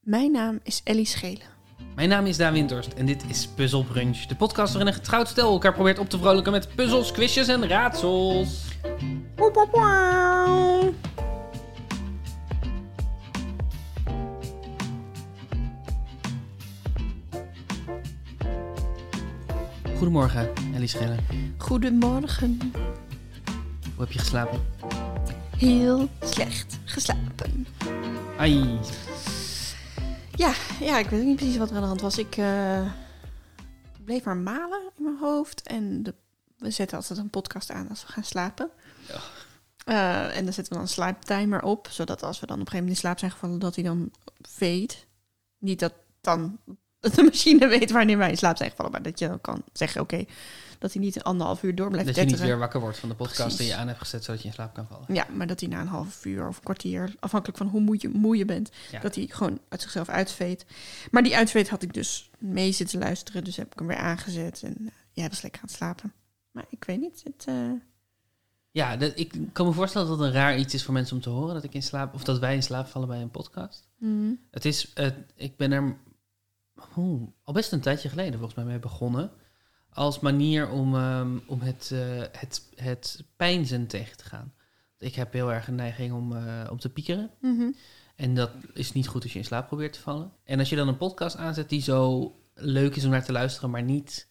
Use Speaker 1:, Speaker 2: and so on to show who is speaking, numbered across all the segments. Speaker 1: Mijn naam is Ellie Schelen.
Speaker 2: Mijn naam is Daan Windhorst en dit is Puzzle Brunch, de podcast waarin een getrouwd stel elkaar probeert op te vrolijken met puzzels, quizjes en raadsels. Goedemorgen, Ellie Schellen.
Speaker 1: Goedemorgen.
Speaker 2: Hoe heb je geslapen?
Speaker 1: Heel slecht geslapen.
Speaker 2: Ai,
Speaker 1: Ja, ja, ik weet ook niet precies wat er aan de hand was. Ik eh, bleef maar malen in mijn hoofd. En de, we zetten altijd een podcast aan als we gaan slapen.
Speaker 2: Ja.
Speaker 1: Eh, en dan zetten we dan een slaaptimer op. Zodat als we dan op een gegeven moment in slaap zijn gevallen, dat hij dan weet. Niet dat dan de machine weet wanneer wij in slaap zijn gevallen. Maar dat je dan kan zeggen, oké, dat hij niet een anderhalf uur door blijft
Speaker 2: dat je niet
Speaker 1: tetteren.
Speaker 2: weer wakker wordt van de podcast die
Speaker 1: Precies.
Speaker 2: je aan hebt gezet zodat je in slaap kan vallen.
Speaker 1: Ja, maar dat hij na een half uur of een kwartier, afhankelijk van hoe moe je, moe je bent,
Speaker 2: Ja.
Speaker 1: dat hij gewoon uit zichzelf uitveet. Maar die uitveet had ik dus mee zitten luisteren, dus heb ik hem weer aangezet en eh, ja, was lekker aan het slapen. Maar ik weet niet, het, eh,
Speaker 2: Ja, dat, ik kan me voorstellen dat het een raar iets is voor mensen om te horen dat ik in slaap of dat wij in slaap vallen bij een podcast.
Speaker 1: mm,
Speaker 2: Het is, eh, ik ben er oeh, al best een tijdje geleden volgens mij mee begonnen. Als manier om, ehm, om het, eh, het, het pijnzen tegen te gaan. Ik heb heel erg een neiging om, eh, om te piekeren.
Speaker 1: mhm.
Speaker 2: En dat is niet goed als je in slaap probeert te vallen. En als je dan een podcast aanzet die zo leuk is om naar te luisteren, maar niet,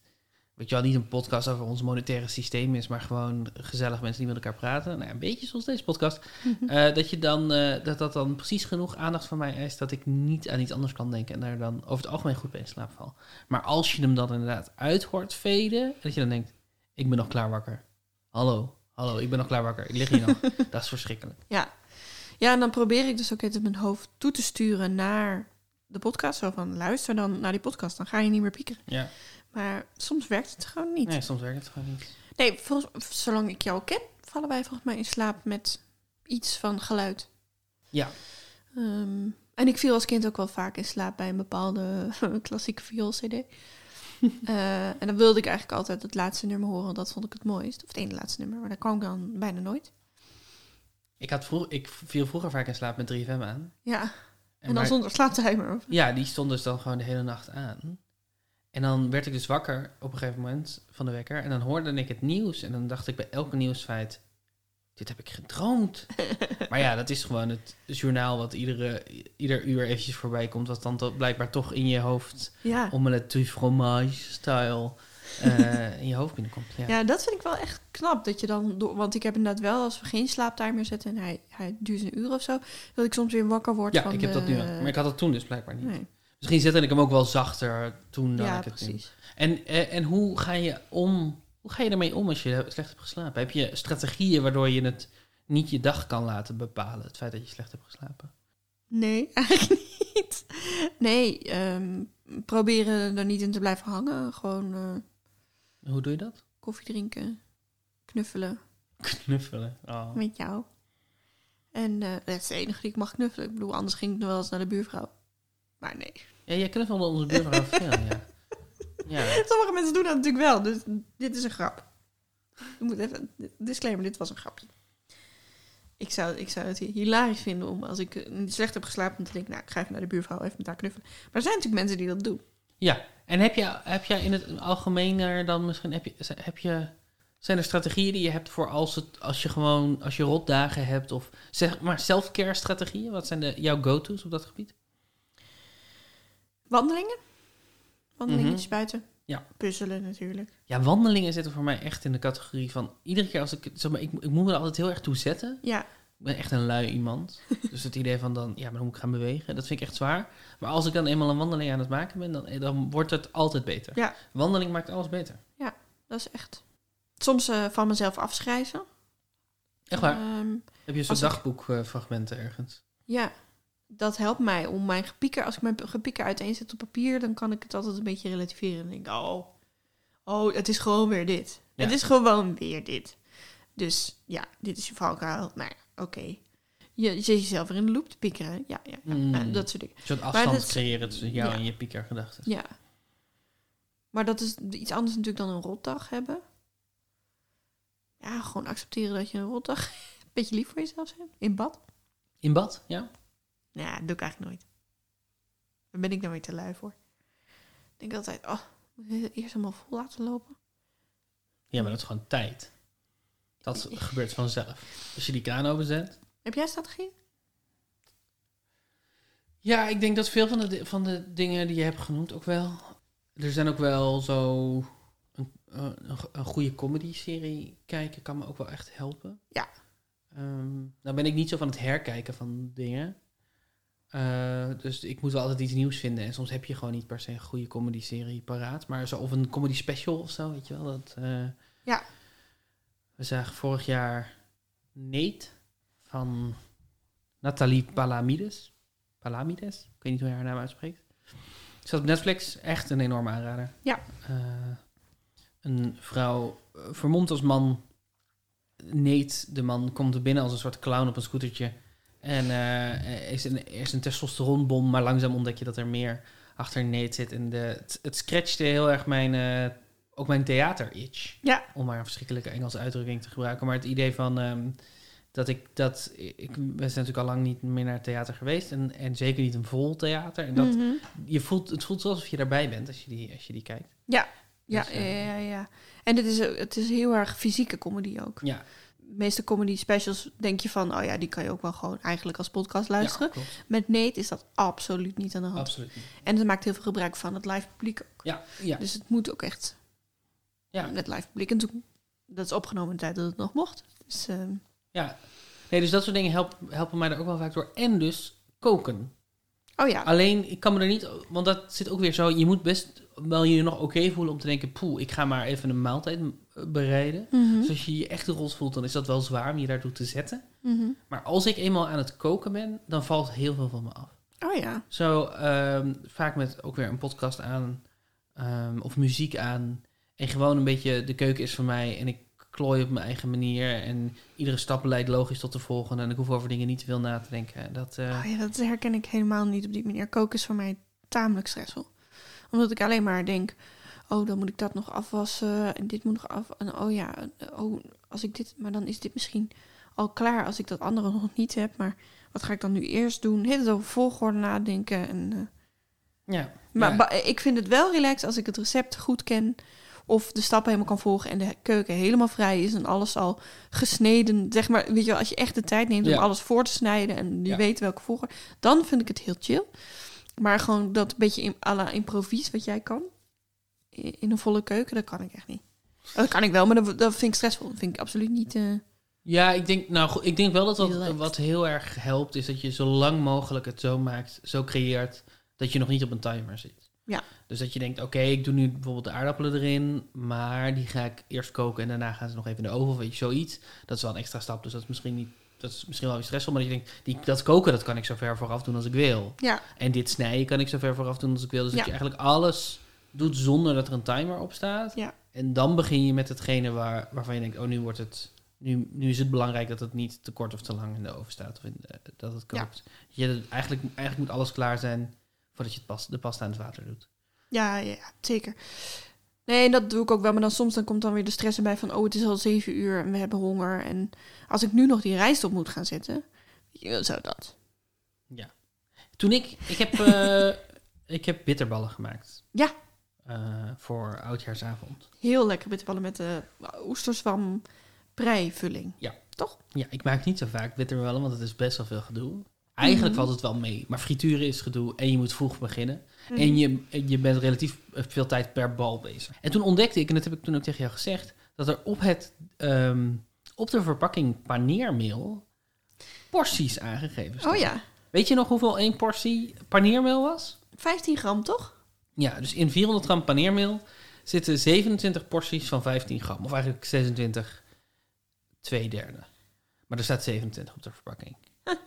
Speaker 2: weet je wel, niet een podcast over ons monetaire systeem is, maar gewoon gezellig mensen die met elkaar praten. Nou, ja, een beetje zoals deze podcast. Eh, dat, je dan, eh, dat dat dan precies genoeg aandacht van mij eist dat ik niet aan iets anders kan denken en daar dan over het algemeen goed bij in slaap val. Maar als je hem dan inderdaad uit hoort veden, dat je dan denkt, ik ben nog klaar wakker. Hallo, hallo, ik ben nog klaar wakker. Ik lig hier nog. dat is verschrikkelijk.
Speaker 1: ja. Ja, en dan probeer ik dus ook het in mijn hoofd toe te sturen naar de podcast. Zo van, luister dan naar die podcast, dan ga je niet meer piekeren.
Speaker 2: Ja.
Speaker 1: Maar soms werkt het gewoon niet.
Speaker 2: Nee, soms werkt het gewoon niet.
Speaker 1: Nee, volgens, zolang ik jou ken, vallen wij volgens mij in slaap met iets van geluid.
Speaker 2: Ja.
Speaker 1: Ehm, en ik viel als kind ook wel vaak in slaap bij een bepaalde klassieke viool-cd. Eh, en dan wilde ik eigenlijk altijd het laatste nummer horen. Dat vond ik het mooist. Of het ene laatste nummer, maar dat kwam ik dan bijna nooit.
Speaker 2: Ik, had vroeg, ik viel vroeger vaak in slaap met 3FM aan.
Speaker 1: Ja, en,
Speaker 2: En
Speaker 1: dan
Speaker 2: maar-
Speaker 1: zonder slaaptimer.
Speaker 2: Ja, die stond dus dan gewoon de hele nacht aan. En dan werd ik dus wakker op een gegeven moment van de wekker. En dan hoorde ik het nieuws. En dan dacht ik bij elke nieuwsfeit... Dit heb ik gedroomd. maar ja, dat is gewoon het journaal wat iedere, ieder uur eventjes voorbij komt. Wat dan to- blijkbaar toch in je hoofd...
Speaker 1: Ja.
Speaker 2: omelet du fromage-style eh, in je hoofd binnenkomt. Ja.
Speaker 1: ja, dat vind ik wel echt knap. Dat je dan door, want ik heb inderdaad wel, als we geen slaaptimer zetten en hij, hij duurt een uur of zo, dat ik soms weer wakker word.
Speaker 2: Ja,
Speaker 1: van
Speaker 2: ik heb dat nu
Speaker 1: de-
Speaker 2: ook. Maar ik had dat toen dus blijkbaar niet.
Speaker 1: Nee.
Speaker 2: Misschien zette ik hem ook wel zachter toen dan
Speaker 1: Ja,
Speaker 2: ik het nu
Speaker 1: precies.
Speaker 2: En, eh, en hoe ga je om? Hoe ga je ermee om als je slecht hebt geslapen? Heb je strategieën waardoor je het niet je dag kan laten bepalen? Het feit dat je slecht hebt geslapen.
Speaker 1: Nee, eigenlijk niet. Nee, ehm, proberen er niet in te blijven hangen. Gewoon eh,
Speaker 2: En Hoe doe je dat?
Speaker 1: koffie drinken, knuffelen
Speaker 2: Knuffelen. Oh.
Speaker 1: met jou. En eh, dat is de enige die ik mag knuffelen. Ik bedoel, anders ging ik nog wel eens naar de buurvrouw. Maar nee.
Speaker 2: Ja, jij knuffelde onze buurvrouw veel, ja. Ja,
Speaker 1: Sommige mensen doen dat natuurlijk wel, dus dit is een grap. Ik moet even, disclaimer, dit was een grapje. Ik zou, ik zou het hilarisch vinden om, als ik eh, slecht heb geslapen, om te denken, nou, ik ga even naar de buurvrouw, even met haar knuffelen. Maar er zijn natuurlijk mensen die dat doen.
Speaker 2: ja. en heb je, heb jij in het algemener dan misschien... Heb je, heb je, zijn er strategieën die je hebt voor als, het, als je gewoon... Als je rotdagen hebt of... Zeg maar self-care strategieën. Wat zijn de, jouw go-to's op dat gebied?
Speaker 1: Wandelingen? Wandelingetjes buiten?
Speaker 2: Mhm. Ja.
Speaker 1: Puzzelen natuurlijk.
Speaker 2: Ja, wandelingen zitten voor mij echt in de categorie van... Iedere keer als ik... Zeg maar, ik, ik moet me er altijd heel erg toe zetten.
Speaker 1: Ja,
Speaker 2: Ik ben echt een lui iemand. dus het idee van dan... Ja, maar dan moet ik gaan bewegen. Dat vind ik echt zwaar. Maar als ik dan eenmaal een wandeling aan het maken ben... Dan, eh, dan wordt het altijd beter.
Speaker 1: Ja.
Speaker 2: Wandeling maakt alles beter.
Speaker 1: dat is echt. Soms eh, van mezelf afschrijven.
Speaker 2: Echt waar.
Speaker 1: Ehm,
Speaker 2: Heb je zo'n
Speaker 1: als ik-
Speaker 2: dagboekfragmenten ergens?
Speaker 1: ja, dat helpt mij om mijn gepieker... Als ik mijn gepieker uiteenzet op papier... dan kan ik het altijd een beetje relativeren. En denk ik, oh, oh het is gewoon weer dit.
Speaker 2: Ja.
Speaker 1: Het is gewoon weer dit. Dus ja, dit is je valkuil. Nou ja, oké. Je, je zet jezelf weer in de loop te piekeren. Ja, ja, ja.
Speaker 2: Mm.
Speaker 1: Nou, dat soort dingen.
Speaker 2: Een soort afstand
Speaker 1: dat-
Speaker 2: creëren tussen jou
Speaker 1: ja.
Speaker 2: en je piekergedachten.
Speaker 1: Ja. Maar dat is iets anders natuurlijk dan een rotdag hebben. Ja, gewoon accepteren dat je een rotdag hebt. Beetje lief voor jezelf zijn. In bad?
Speaker 2: In bad, ja?
Speaker 1: Nou, dat doe ik eigenlijk nooit. Daar ben ik dan weer te lui voor. Ik denk altijd, oh, moet ik het eerst helemaal vol laten lopen.
Speaker 2: Ja, maar dat is gewoon tijd. Dat gebeurt vanzelf. Als je die kraan openzet.
Speaker 1: Heb jij strategie?
Speaker 2: Ja, ik denk dat veel van de, di- van de dingen die je hebt genoemd ook wel. Er zijn ook wel zo. Een, een, een goede comedy-serie kijken kan me ook wel echt helpen.
Speaker 1: Ja.
Speaker 2: Ehm, nou ben ik niet zo van het herkijken van dingen. Eh, dus ik moet wel altijd iets nieuws vinden. En soms heb je gewoon niet per se een goede comedy-serie paraat. Maar zo, of een comedy-special of zo, weet je wel. Dat, eh,
Speaker 1: Ja.
Speaker 2: We zagen vorig jaar Nate van Nathalie Palamides. Palamides. Ik weet niet hoe je haar naam uitspreekt. Ze Zat op Netflix. Echt een enorme aanrader.
Speaker 1: Ja.
Speaker 2: Eh, een vrouw, eh, vermomd als man, neet de man, komt er binnen als een soort clown op een scootertje. En eh, is een, is een testosteronbom, maar langzaam ontdek je dat er meer achter Nate zit. En de, het, het scratchte heel erg mijn, eh, ook mijn theater-itch.
Speaker 1: Ja.
Speaker 2: Om maar een verschrikkelijke Engelse uitdrukking te gebruiken. Maar het idee van... ehm, dat ik dat ik we zijn natuurlijk al lang niet meer naar het theater geweest en, en zeker niet een vol theater en dat
Speaker 1: Mhm.
Speaker 2: je voelt het voelt alsof je daarbij bent als je die als je die kijkt
Speaker 1: Ja, ja,
Speaker 2: Dus, eh,
Speaker 1: ja, ja. En het is, het is heel erg fysieke comedy ook.
Speaker 2: ja
Speaker 1: De meeste comedy specials denk je van, oh ja, die kan je ook wel gewoon eigenlijk als podcast luisteren.
Speaker 2: ja, klopt.
Speaker 1: Met Nate is dat absoluut niet aan de hand.
Speaker 2: absoluut niet.
Speaker 1: En ze maakt heel veel gebruik van het live publiek ook.
Speaker 2: ja ja
Speaker 1: Dus het moet ook echt
Speaker 2: Ja.
Speaker 1: met live publiek. En toen, dat is opgenomen in de tijd dat het nog mocht. Dus ehm,
Speaker 2: ja nee dus dat soort dingen helpen helpen mij daar ook wel vaak door en dus koken
Speaker 1: oh ja,
Speaker 2: alleen ik kan me er niet want dat zit ook weer zo je moet best wel je nog oké voelen om te denken poeh ik ga maar even een maaltijd eh, bereiden
Speaker 1: Mhm,
Speaker 2: dus als je je echt de rot voelt dan is dat wel zwaar om je daartoe te zetten
Speaker 1: mhm.
Speaker 2: maar als ik eenmaal aan het koken ben dan valt heel veel van me af
Speaker 1: oh ja,
Speaker 2: Zo, ehm, vaak met ook weer een podcast aan ehm, of muziek aan. En gewoon een beetje de keuken is voor mij en ik klooi op mijn eigen manier. En iedere stap leidt logisch tot de volgende. En ik hoef over dingen niet te veel na te denken. Dat, eh,
Speaker 1: oh ja, dat herken ik helemaal niet op die manier. Koken is voor mij tamelijk stressvol. Omdat ik alleen maar denk, oh, dan moet ik dat nog afwassen en dit moet nog af. En oh ja, en, oh, als ik dit, maar dan is dit misschien al klaar als ik dat andere nog niet heb. Maar wat ga ik dan nu eerst doen? Heel over volgorde nadenken en... eh,
Speaker 2: ja.
Speaker 1: Maar
Speaker 2: Ja.
Speaker 1: ba- ik vind het wel relaxed als ik het recept goed ken. Of de stappen helemaal kan volgen en de keuken helemaal vrij is en alles al gesneden. Zeg maar, weet je wel, als je echt de tijd neemt
Speaker 2: Ja.
Speaker 1: om alles voor te snijden en je
Speaker 2: Ja.
Speaker 1: weet welke volgorde, dan vind ik het heel chill. Maar gewoon dat beetje in, à la improvies wat jij kan, i- in een volle keuken, dat kan ik echt niet. Dat kan ik wel, maar dat, dat vind ik stressvol. Dat vind ik absoluut niet... eh,
Speaker 2: Ja, ik denk, nou, goed, ik denk wel dat wat,
Speaker 1: Relaxed.
Speaker 2: wat heel erg helpt, is dat je zo lang mogelijk het zo maakt, zo creëert, dat je nog niet op een timer zit.
Speaker 1: Ja.
Speaker 2: Dus dat je denkt, oké, ik doe nu bijvoorbeeld de aardappelen erin, maar die ga ik eerst koken en daarna gaan ze nog even in de oven of weet je, zoiets. Dat is wel een extra stap, dus dat is misschien niet, dat is misschien wel weer stressvol, maar dat je denkt, die, dat koken, dat kan ik zo ver vooraf doen als ik wil.
Speaker 1: ja,
Speaker 2: En dit snijden kan ik zo ver vooraf doen als ik wil. Dus
Speaker 1: Ja.
Speaker 2: dat je eigenlijk alles doet zonder dat er een timer op staat.
Speaker 1: Ja.
Speaker 2: En dan begin je met hetgene waar, waarvan je denkt, oh, nu wordt het. Nu, nu is het belangrijk dat het niet te kort of te lang in de oven staat. Of in de- dat het
Speaker 1: Ja.
Speaker 2: kookt. Je, eigenlijk, eigenlijk moet alles klaar zijn voordat je het pas, de pasta aan het water doet.
Speaker 1: ja, ja, zeker. Nee, en dat doe ik ook wel. Maar dan soms dan komt dan weer de stress erbij van... oh, het is al zeven uur en we hebben honger. En als ik nu nog die rijst op moet gaan zetten... ja, Zo dat.
Speaker 2: Toen ik, ik heb, eh, ik heb bitterballen gemaakt.
Speaker 1: Ja.
Speaker 2: Eh, voor oudjaarsavond.
Speaker 1: Heel lekker bitterballen met de oesterzwam preivulling.
Speaker 2: Ja, ik maak niet zo vaak bitterballen, want het is best wel veel gedoe. Eigenlijk
Speaker 1: Mhm.
Speaker 2: valt het wel mee, maar frituren is gedoe en je moet vroeg beginnen.
Speaker 1: Mhm.
Speaker 2: En je, je bent relatief eh, veel tijd per bal bezig. En toen ontdekte ik, en dat heb ik toen ook tegen jou gezegd, dat er op, het, ehm, op de verpakking paneermeel porties aangegeven staan.
Speaker 1: Oh ja,
Speaker 2: Weet je nog hoeveel één portie paneermeel was?
Speaker 1: 15 gram toch?
Speaker 2: Ja, dus in 400 gram paneermeel zitten 27 porties van 15 gram. Of eigenlijk 26, twee derde. Maar er staat 27 op de verpakking. Het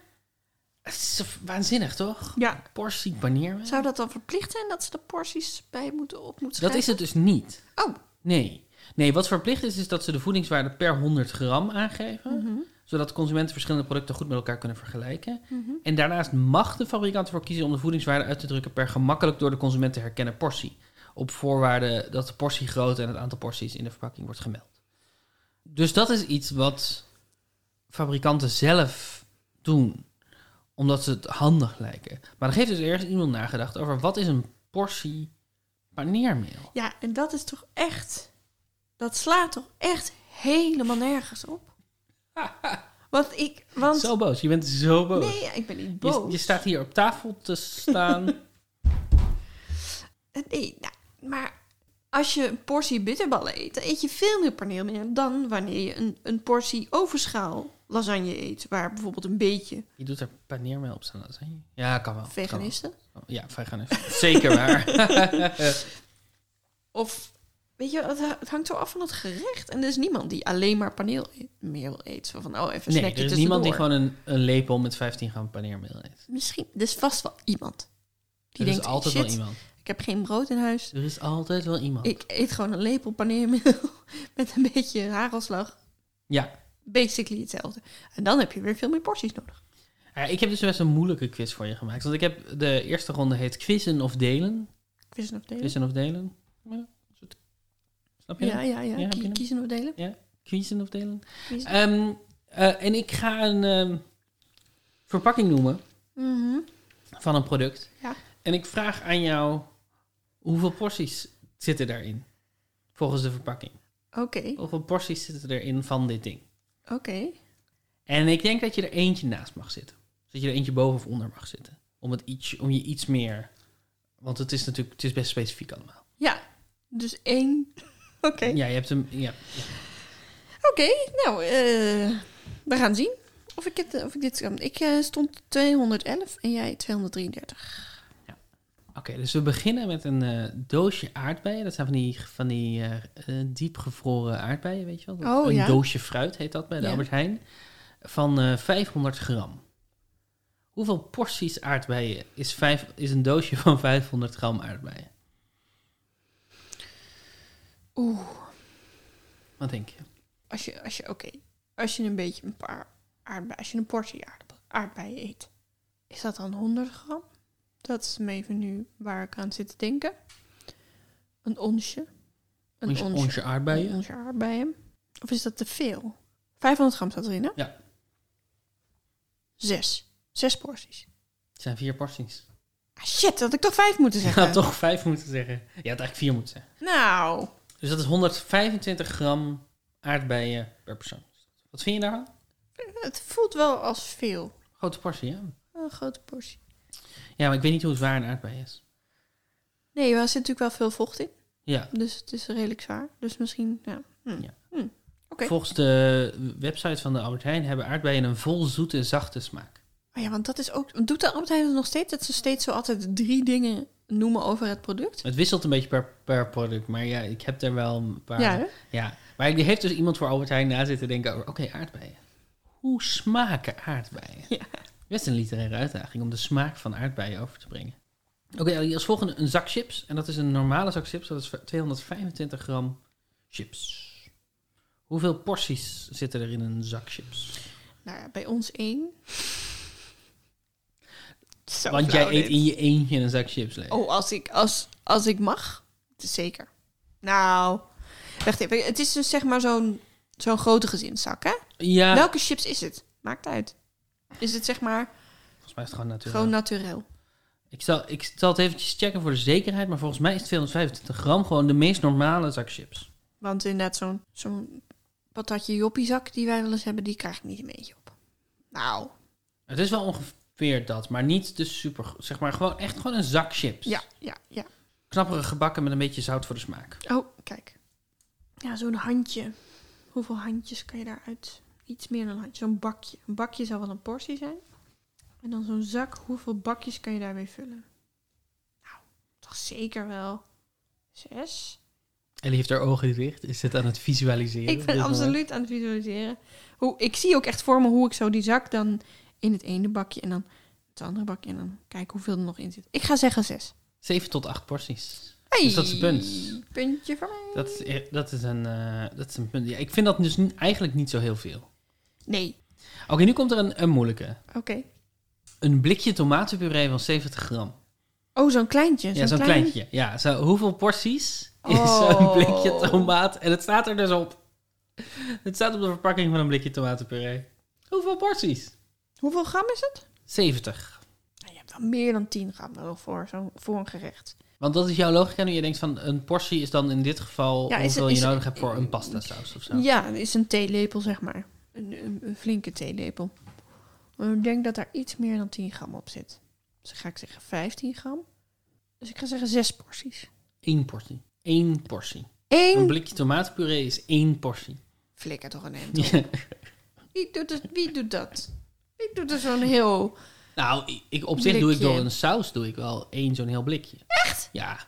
Speaker 2: is waanzinnig, toch?
Speaker 1: Ja.
Speaker 2: Portie paneermeel.
Speaker 1: Zou dat dan verplicht zijn dat ze de porties bij moeten op moeten
Speaker 2: Dat is
Speaker 1: schrijven?
Speaker 2: het dus niet.
Speaker 1: Oh.
Speaker 2: Nee. Nee, wat verplicht is, is dat ze de voedingswaarde per 100 gram aangeven.
Speaker 1: Mhm,
Speaker 2: Zodat consumenten verschillende producten goed met elkaar kunnen vergelijken.
Speaker 1: mhm.
Speaker 2: En daarnaast mag de fabrikant ervoor kiezen om de voedingswaarde uit te drukken per gemakkelijk door de consument te herkennen portie. Op voorwaarde dat de portiegrootte en het aantal porties in de verpakking wordt gemeld. Dus dat is iets wat fabrikanten zelf doen Omdat ze het handig lijken. Maar dan heeft dus ergens iemand nagedacht over wat is een portie paneermeel.
Speaker 1: Ja, en dat is toch echt. Dat slaat toch echt helemaal nergens op? Want ik. Want,
Speaker 2: Zo boos. Je bent zo boos.
Speaker 1: nee, ik ben niet boos.
Speaker 2: Je, je staat hier op tafel te staan.
Speaker 1: Eh, Nee, nou, maar als je een portie bitterballen eet, dan eet je veel meer paneermeel dan wanneer je een, een portie overschaal lasagne eet. Waar bijvoorbeeld een beetje
Speaker 2: je doet er paneermeel op staan. lasagne? Ja, kan wel. Oh, kan wel.
Speaker 1: veganisten.
Speaker 2: Ja, veganist. Zeker waar.
Speaker 1: Of, weet je, het, ha- het hangt zo af van het gerecht. En er is niemand die alleen maar e- paneermeel eet. Zo van, oh, even
Speaker 2: nee, er
Speaker 1: snackje
Speaker 2: is
Speaker 1: tussendoor.
Speaker 2: niemand die gewoon een, een lepel met 15 gram paneermeel eet.
Speaker 1: Misschien, er is vast wel iemand. Die
Speaker 2: er
Speaker 1: denkt,
Speaker 2: is altijd
Speaker 1: shit,
Speaker 2: wel iemand.
Speaker 1: ik heb geen brood in huis.
Speaker 2: Er is altijd wel iemand.
Speaker 1: Ik eet gewoon een lepel paneermeel met een beetje hagelslag.
Speaker 2: Ja.
Speaker 1: Basically hetzelfde. En dan heb je weer veel meer porties nodig.
Speaker 2: Ja, ik heb dus best een moeilijke quiz voor je gemaakt. Want ik heb de eerste ronde heet quizzen of delen.
Speaker 1: Ik wist het nog delen.
Speaker 2: Quizzen of delen. Ja, een soort- snap je?
Speaker 1: Ja, ja, ja.
Speaker 2: heb je
Speaker 1: Kie-
Speaker 2: hem?
Speaker 1: kiezen of delen.
Speaker 2: Quizzen of delen.
Speaker 1: Kiezen.
Speaker 2: Ehm, eh, en ik ga een ehm, verpakking noemen
Speaker 1: Mhm.
Speaker 2: van een product.
Speaker 1: Ja.
Speaker 2: En ik vraag aan jou hoeveel porties zitten daarin? Volgens de verpakking.
Speaker 1: Oké,
Speaker 2: Hoeveel porties zitten erin van dit ding?
Speaker 1: oké.
Speaker 2: En ik denk dat je er eentje naast mag zitten. Dus Dat je er eentje boven of onder mag zitten. Om, het iets, om je iets meer... Want het is natuurlijk het is best specifiek allemaal.
Speaker 1: Ja, dus één. Oké,
Speaker 2: Ja, je hebt hem... Ja.
Speaker 1: oké. Nou, eh, we gaan zien of ik, het, of ik dit kan. Ik eh, stond 211 en jij 233.
Speaker 2: Oké, dus we beginnen met een eh, doosje aardbeien. Dat zijn van die, van die eh, eh, diepgevroren aardbeien, weet je wel? Dat-
Speaker 1: Oh,
Speaker 2: een
Speaker 1: ja.
Speaker 2: doosje fruit heet dat bij de
Speaker 1: Ja.
Speaker 2: Albert Heijn. Van eh, 500 gram. Hoeveel porties aardbeien is, vijf, is een doosje van 500 gram aardbeien?
Speaker 1: Oeh,
Speaker 2: Wat denk je?
Speaker 1: als je, als je, oké. Als je een beetje een paar aardbeien, als je een portie aardbe- aardbeien eet, is dat dan 100 gram? Dat is hem even nu waar ik aan zit te denken. Een onsje. Een
Speaker 2: Onsje, onsje aardbeien?
Speaker 1: Een onsje aardbeien. Of is dat te veel? 500 gram staat erin, hè?
Speaker 2: Ja.
Speaker 1: Zes. Zes porties.
Speaker 2: Het zijn vier porties.
Speaker 1: Ah, shit, had ik toch vijf moeten
Speaker 2: Ik
Speaker 1: zeggen?
Speaker 2: had toch vijf moeten zeggen. Je had eigenlijk vier moeten zeggen.
Speaker 1: Nou,
Speaker 2: Dus dat is 125 gram aardbeien per persoon. Wat vind je daarvan?
Speaker 1: het voelt wel als veel.
Speaker 2: Grote portie, ja.
Speaker 1: Wel Een grote portie.
Speaker 2: Ja, maar ik weet niet hoe het waar een aardbei is.
Speaker 1: Nee, er zit natuurlijk wel veel vocht in.
Speaker 2: Ja.
Speaker 1: Dus het is redelijk zwaar. Dus misschien, ja. Hm.
Speaker 2: Ja.
Speaker 1: Hm. Oké.
Speaker 2: Volgens de website van de Albert Heijn hebben aardbeien een vol zoete, zachte smaak.
Speaker 1: Oh ja, want dat is ook... Doet de Albert Heijn het nog steeds? Dat ze steeds zo altijd drie dingen noemen over het product?
Speaker 2: Het wisselt een beetje per, per product, maar ja, ik heb er wel een paar.
Speaker 1: Ja, hè?
Speaker 2: Ja. Maar die heeft dus iemand voor Albert Heijn na zitten denken over, oké, aardbeien. Hoe smaken aardbeien?
Speaker 1: Ja.
Speaker 2: Best een literaire uitdaging om de smaak van aardbeien over te brengen. Oké, als volgende een zak chips. En dat is een normale zak chips, dat is 225 gram chips. Hoeveel porties zitten er in een zak chips?
Speaker 1: Nou ja, bij ons één. Zo
Speaker 2: Want
Speaker 1: flauw
Speaker 2: jij
Speaker 1: Nou,
Speaker 2: eet
Speaker 1: dit.
Speaker 2: in je eentje een zak chips leeg.
Speaker 1: Oh, als ik, als, als ik mag? Het is Zeker. Nou, wacht even. Het is dus zeg maar zo'n zo'n grote gezinszak, hè?
Speaker 2: Ja,
Speaker 1: Welke chips is het? Maakt uit. Is het zeg maar
Speaker 2: volgens mij is het gewoon natuurlijk.
Speaker 1: gewoon naturel?
Speaker 2: Ik, zal, ik zal het eventjes checken voor de zekerheid, maar volgens mij is 225 gram gewoon de meest normale zak chips.
Speaker 1: Want inderdaad, zo'n zo'n patatje joppiezak die wij wel eens hebben, die krijg ik niet een beetje op. Nou,
Speaker 2: Het is wel ongeveer dat, maar niet de super, zeg maar gewoon echt gewoon een zak chips.
Speaker 1: ja, ja, ja.
Speaker 2: Knapperige gebakken met een beetje zout voor de smaak.
Speaker 1: Oh, kijk. Ja, zo'n handje. Hoeveel handjes kan je daaruit? Iets meer dan een handje. Zo'n bakje. Een bakje zou wel een portie zijn. En dan zo'n zak. Hoeveel bakjes kan je daarmee vullen? Nou, toch zeker wel zes.
Speaker 2: Ellie heeft haar ogen dicht, is het aan het visualiseren.
Speaker 1: Ik ben absoluut aan het visualiseren. Hoe, ik zie ook echt voor me hoe ik zo die zak dan in het ene bakje en dan het andere bakje en dan kijken hoeveel er nog in zit. Ik ga zeggen zes.
Speaker 2: 7 tot 8 porties.
Speaker 1: Hey,
Speaker 2: Dus dat is een punt.
Speaker 1: Puntje voor mij.
Speaker 2: Dat is, e- dat is, een, eh, dat is een punt. Ja, ik vind dat dus niet- eigenlijk niet zo heel veel.
Speaker 1: Nee.
Speaker 2: Oké, nu komt er een, een moeilijke.
Speaker 1: Oké.
Speaker 2: Een blikje tomatenpuree van 70 gram.
Speaker 1: Oh, zo'n kleintje.
Speaker 2: ja, zo'n
Speaker 1: klein-
Speaker 2: kleintje. Ja, zo, hoeveel porties is
Speaker 1: Oh.
Speaker 2: zo'n blikje tomaat? En het staat er dus op. Het staat op de verpakking van een blikje tomatenpuree. Hoeveel porties?
Speaker 1: Hoeveel gram is het?
Speaker 2: 70 70.
Speaker 1: Nou, je hebt wel meer dan 10 gram nodig voor, zo'n voor een gerecht.
Speaker 2: Want dat is jouw logica nu. Je denkt van een portie is dan in dit geval
Speaker 1: Ja, is
Speaker 2: hoeveel
Speaker 1: het- is
Speaker 2: je
Speaker 1: het-
Speaker 2: nodig hebt voor een pasta saus of zo.
Speaker 1: Ja, dat is een theelepel, zeg maar. Een, een, een flinke theelepel. Maar ik denk dat daar iets meer dan 10 gram op zit. Dus dan ga ik zeggen 15 gram. Dus ik ga zeggen 6 porties.
Speaker 2: Eén portie. Eén portie. Een
Speaker 1: Eén
Speaker 2: blikje tomatenpuree is één portie.
Speaker 1: flikker toch een end.
Speaker 2: Ja.
Speaker 1: Wie doet, het, wie doet dat? Wie doet er zo'n heel...
Speaker 2: Nou, ik- ik, op zich doe ik door
Speaker 1: Blikje.
Speaker 2: een saus doe ik wel één zo'n heel blikje. Echt? Ja.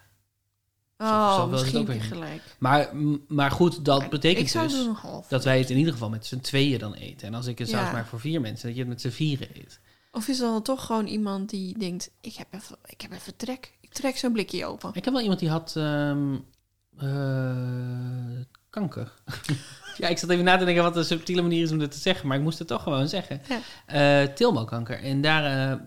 Speaker 1: Oh,
Speaker 2: zo wil ik
Speaker 1: misschien
Speaker 2: het ook
Speaker 1: heb je
Speaker 2: weer
Speaker 1: gelijk.
Speaker 2: Maar, m- maar goed, dat
Speaker 1: ik
Speaker 2: betekent
Speaker 1: zou
Speaker 2: dus
Speaker 1: doen een half.
Speaker 2: dat wij het in ieder geval met z'n tweeën dan eten. En als ik een saus
Speaker 1: Ja.
Speaker 2: maak voor vier mensen, dat je het met z'n vieren eet.
Speaker 1: Of is dat dan toch gewoon iemand die denkt... Ik heb even, ik heb even trek. Ik trek zo'n blikje open.
Speaker 2: Ik heb wel iemand die had ehm, eh, kanker. ja, ik zat even na te denken wat de subtiele manier is om dit te zeggen, maar ik moest het toch gewoon zeggen.
Speaker 1: Ja.
Speaker 2: Eh Tilmokanker. En daar, eh,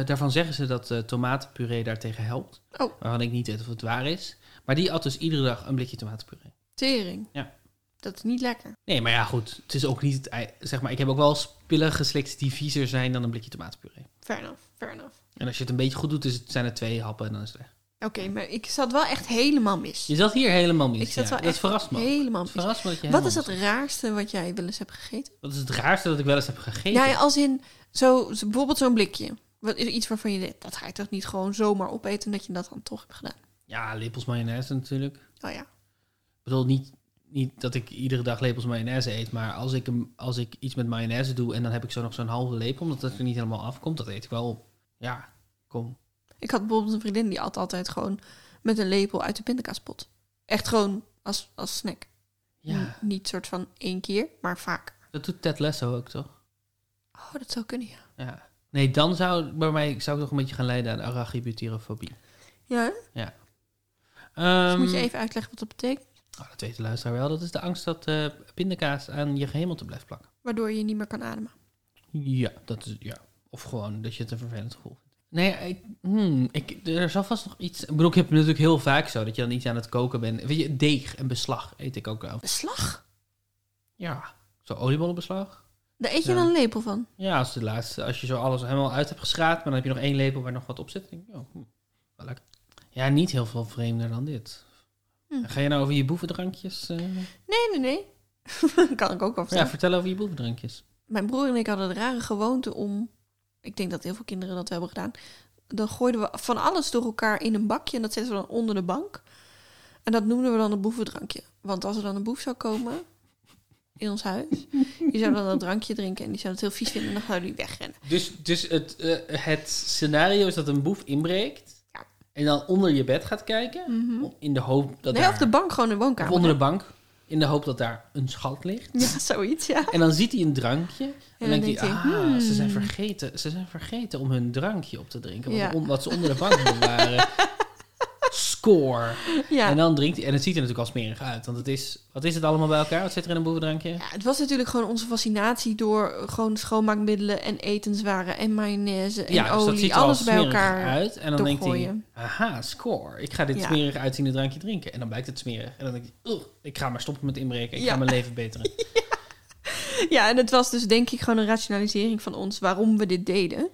Speaker 2: eh, daarvan zeggen ze dat eh, tomatenpuree daartegen helpt.
Speaker 1: Oh.
Speaker 2: Waarvan ik niet weet of het waar is. Maar die at dus iedere dag een blikje tomatenpuree.
Speaker 1: Tering.
Speaker 2: Ja.
Speaker 1: Dat is niet lekker.
Speaker 2: Nee, maar ja, goed. Het is ook niet het ei- Zeg maar, ik heb ook wel spullen geslikt die viezer zijn dan een blikje tomatenpuree.
Speaker 1: Fair enough, fair enough.
Speaker 2: En als je het een beetje goed doet, is het, zijn er twee happen en dan is het weg.
Speaker 1: Oké, maar ik zat wel echt helemaal mis.
Speaker 2: Je zat hier helemaal mis.
Speaker 1: Ik zat
Speaker 2: ja.
Speaker 1: wel
Speaker 2: dat
Speaker 1: echt
Speaker 2: verrast me. ook.
Speaker 1: helemaal
Speaker 2: Het
Speaker 1: mis.
Speaker 2: verrast me dat je
Speaker 1: Wat
Speaker 2: helemaal
Speaker 1: is het
Speaker 2: mis
Speaker 1: raarste wat jij wel eens hebt gegeten?
Speaker 2: was. Wat is het raarste dat ik wel eens heb gegeten?
Speaker 1: Nou Ja, ja, als in zo, zo- bijvoorbeeld zo'n blikje. Wat is iets waarvan je denkt, dat ga je toch niet gewoon zomaar opeten... dat je dat dan toch hebt gedaan?
Speaker 2: Ja, lepels mayonaise natuurlijk. Ik
Speaker 1: Oh ja.
Speaker 2: bedoel, niet, niet dat ik iedere dag lepels mayonaise eet, maar als ik, hem, als ik iets met mayonaise doe en dan heb ik zo nog zo'n halve lepel, omdat dat er niet helemaal afkomt, dat eet ik wel op. Ja, kom.
Speaker 1: Ik had bijvoorbeeld een vriendin die at altijd gewoon... met een lepel uit de pindakaaspot. Echt gewoon als, als snack.
Speaker 2: Ja,
Speaker 1: N- niet soort van één keer, maar vaak.
Speaker 2: Hmm. dat doet Ted Lasso ook, toch?
Speaker 1: Oh, dat zou kunnen, ja.
Speaker 2: Ja. Nee, dan zou bij mij zou ik toch een beetje gaan leiden aan arachibutyrofobie.
Speaker 1: Ja, dus
Speaker 2: Ehm
Speaker 1: moet je even uitleggen wat dat betekent.
Speaker 2: oh, dat weet de luisteraar wel. Dat is de angst dat eh, pindakaas aan je gehemelte blijft plakken.
Speaker 1: Waardoor je niet meer kan ademen.
Speaker 2: Ja, dat is, ja. Of gewoon dat je het een vervelend gevoel vindt. Nee, ik, hmm, ik, er zal vast nog iets... Ik bedoel, ik heb natuurlijk heel vaak zo dat je dan iets aan het koken bent. Weet je, deeg en beslag eet ik ook wel.
Speaker 1: Beslag?
Speaker 2: Ja, zo oliebollenbeslag.
Speaker 1: Daar eet je
Speaker 2: Ja.
Speaker 1: dan een lepel van.
Speaker 2: Ja, als, de laatste, als je zo alles helemaal uit hebt geschraapt, maar dan heb je nog één lepel waar nog wat op zit. Dan denk ik, oh, hm, wel lekker. Ja, niet heel veel vreemder dan dit.
Speaker 1: Hm.
Speaker 2: Ga je nou over je boevendrankjes? eh,
Speaker 1: Nee, nee, nee. kan ik ook wel
Speaker 2: ja,
Speaker 1: vertellen.
Speaker 2: vertel over je boevendrankjes.
Speaker 1: Mijn broer en ik hadden de rare gewoonte om... Ik denk dat heel veel kinderen dat hebben gedaan. Dan gooiden we van alles door elkaar in een bakje. En dat zetten we dan onder de bank. En dat noemden we dan een boevendrankje. Want als er dan een boef zou komen in ons huis... die zou dan dat drankje drinken en die zou het heel vies vinden... en dan zouden die wegrennen.
Speaker 2: Dus, dus het, eh, het scenario is dat een boef inbreekt
Speaker 1: Ja. Mhm.
Speaker 2: en dan onder je bed gaat kijken. In de hoop dat
Speaker 1: Nee,
Speaker 2: daar,
Speaker 1: of de bank gewoon in de
Speaker 2: of
Speaker 1: woonkamer.
Speaker 2: onder de bank. In de hoop dat daar een schat ligt.
Speaker 1: Ja, zoiets, ja.
Speaker 2: En dan ziet hij een drankje. En,
Speaker 1: Oh. dan
Speaker 2: denkt hij,
Speaker 1: denkt hij,
Speaker 2: ah,
Speaker 1: hmm.
Speaker 2: ze, zijn vergeten, ze zijn vergeten om hun drankje op te drinken. Wat,
Speaker 1: Ja.
Speaker 2: on- wat ze onder de bank hebben waren. Score.
Speaker 1: ja.
Speaker 2: En dan drinkt hij. En het ziet er natuurlijk al smerig uit. Want het is, wat is het allemaal bij elkaar? Wat zit er in een boevendrankje?
Speaker 1: Ja, het was natuurlijk gewoon onze fascinatie door eh, gewoon schoonmaakmiddelen en etenswaren en mayonaise en
Speaker 2: Ja, dus dat
Speaker 1: olie,
Speaker 2: ziet er
Speaker 1: alles
Speaker 2: al
Speaker 1: bij
Speaker 2: smerig
Speaker 1: elkaar.
Speaker 2: uit. En dan denkt hij,
Speaker 1: doorgooien.
Speaker 2: aha, score. Ik ga dit
Speaker 1: Ja.
Speaker 2: smerig uitziende drankje drinken. En dan blijkt het smerig. En dan denk ik, "Ugh, ik ga maar stoppen met inbreken. Ik
Speaker 1: Ja.
Speaker 2: ga mijn leven beteren.
Speaker 1: Ja, en het was dus denk ik gewoon een rationalisering van ons waarom we dit deden.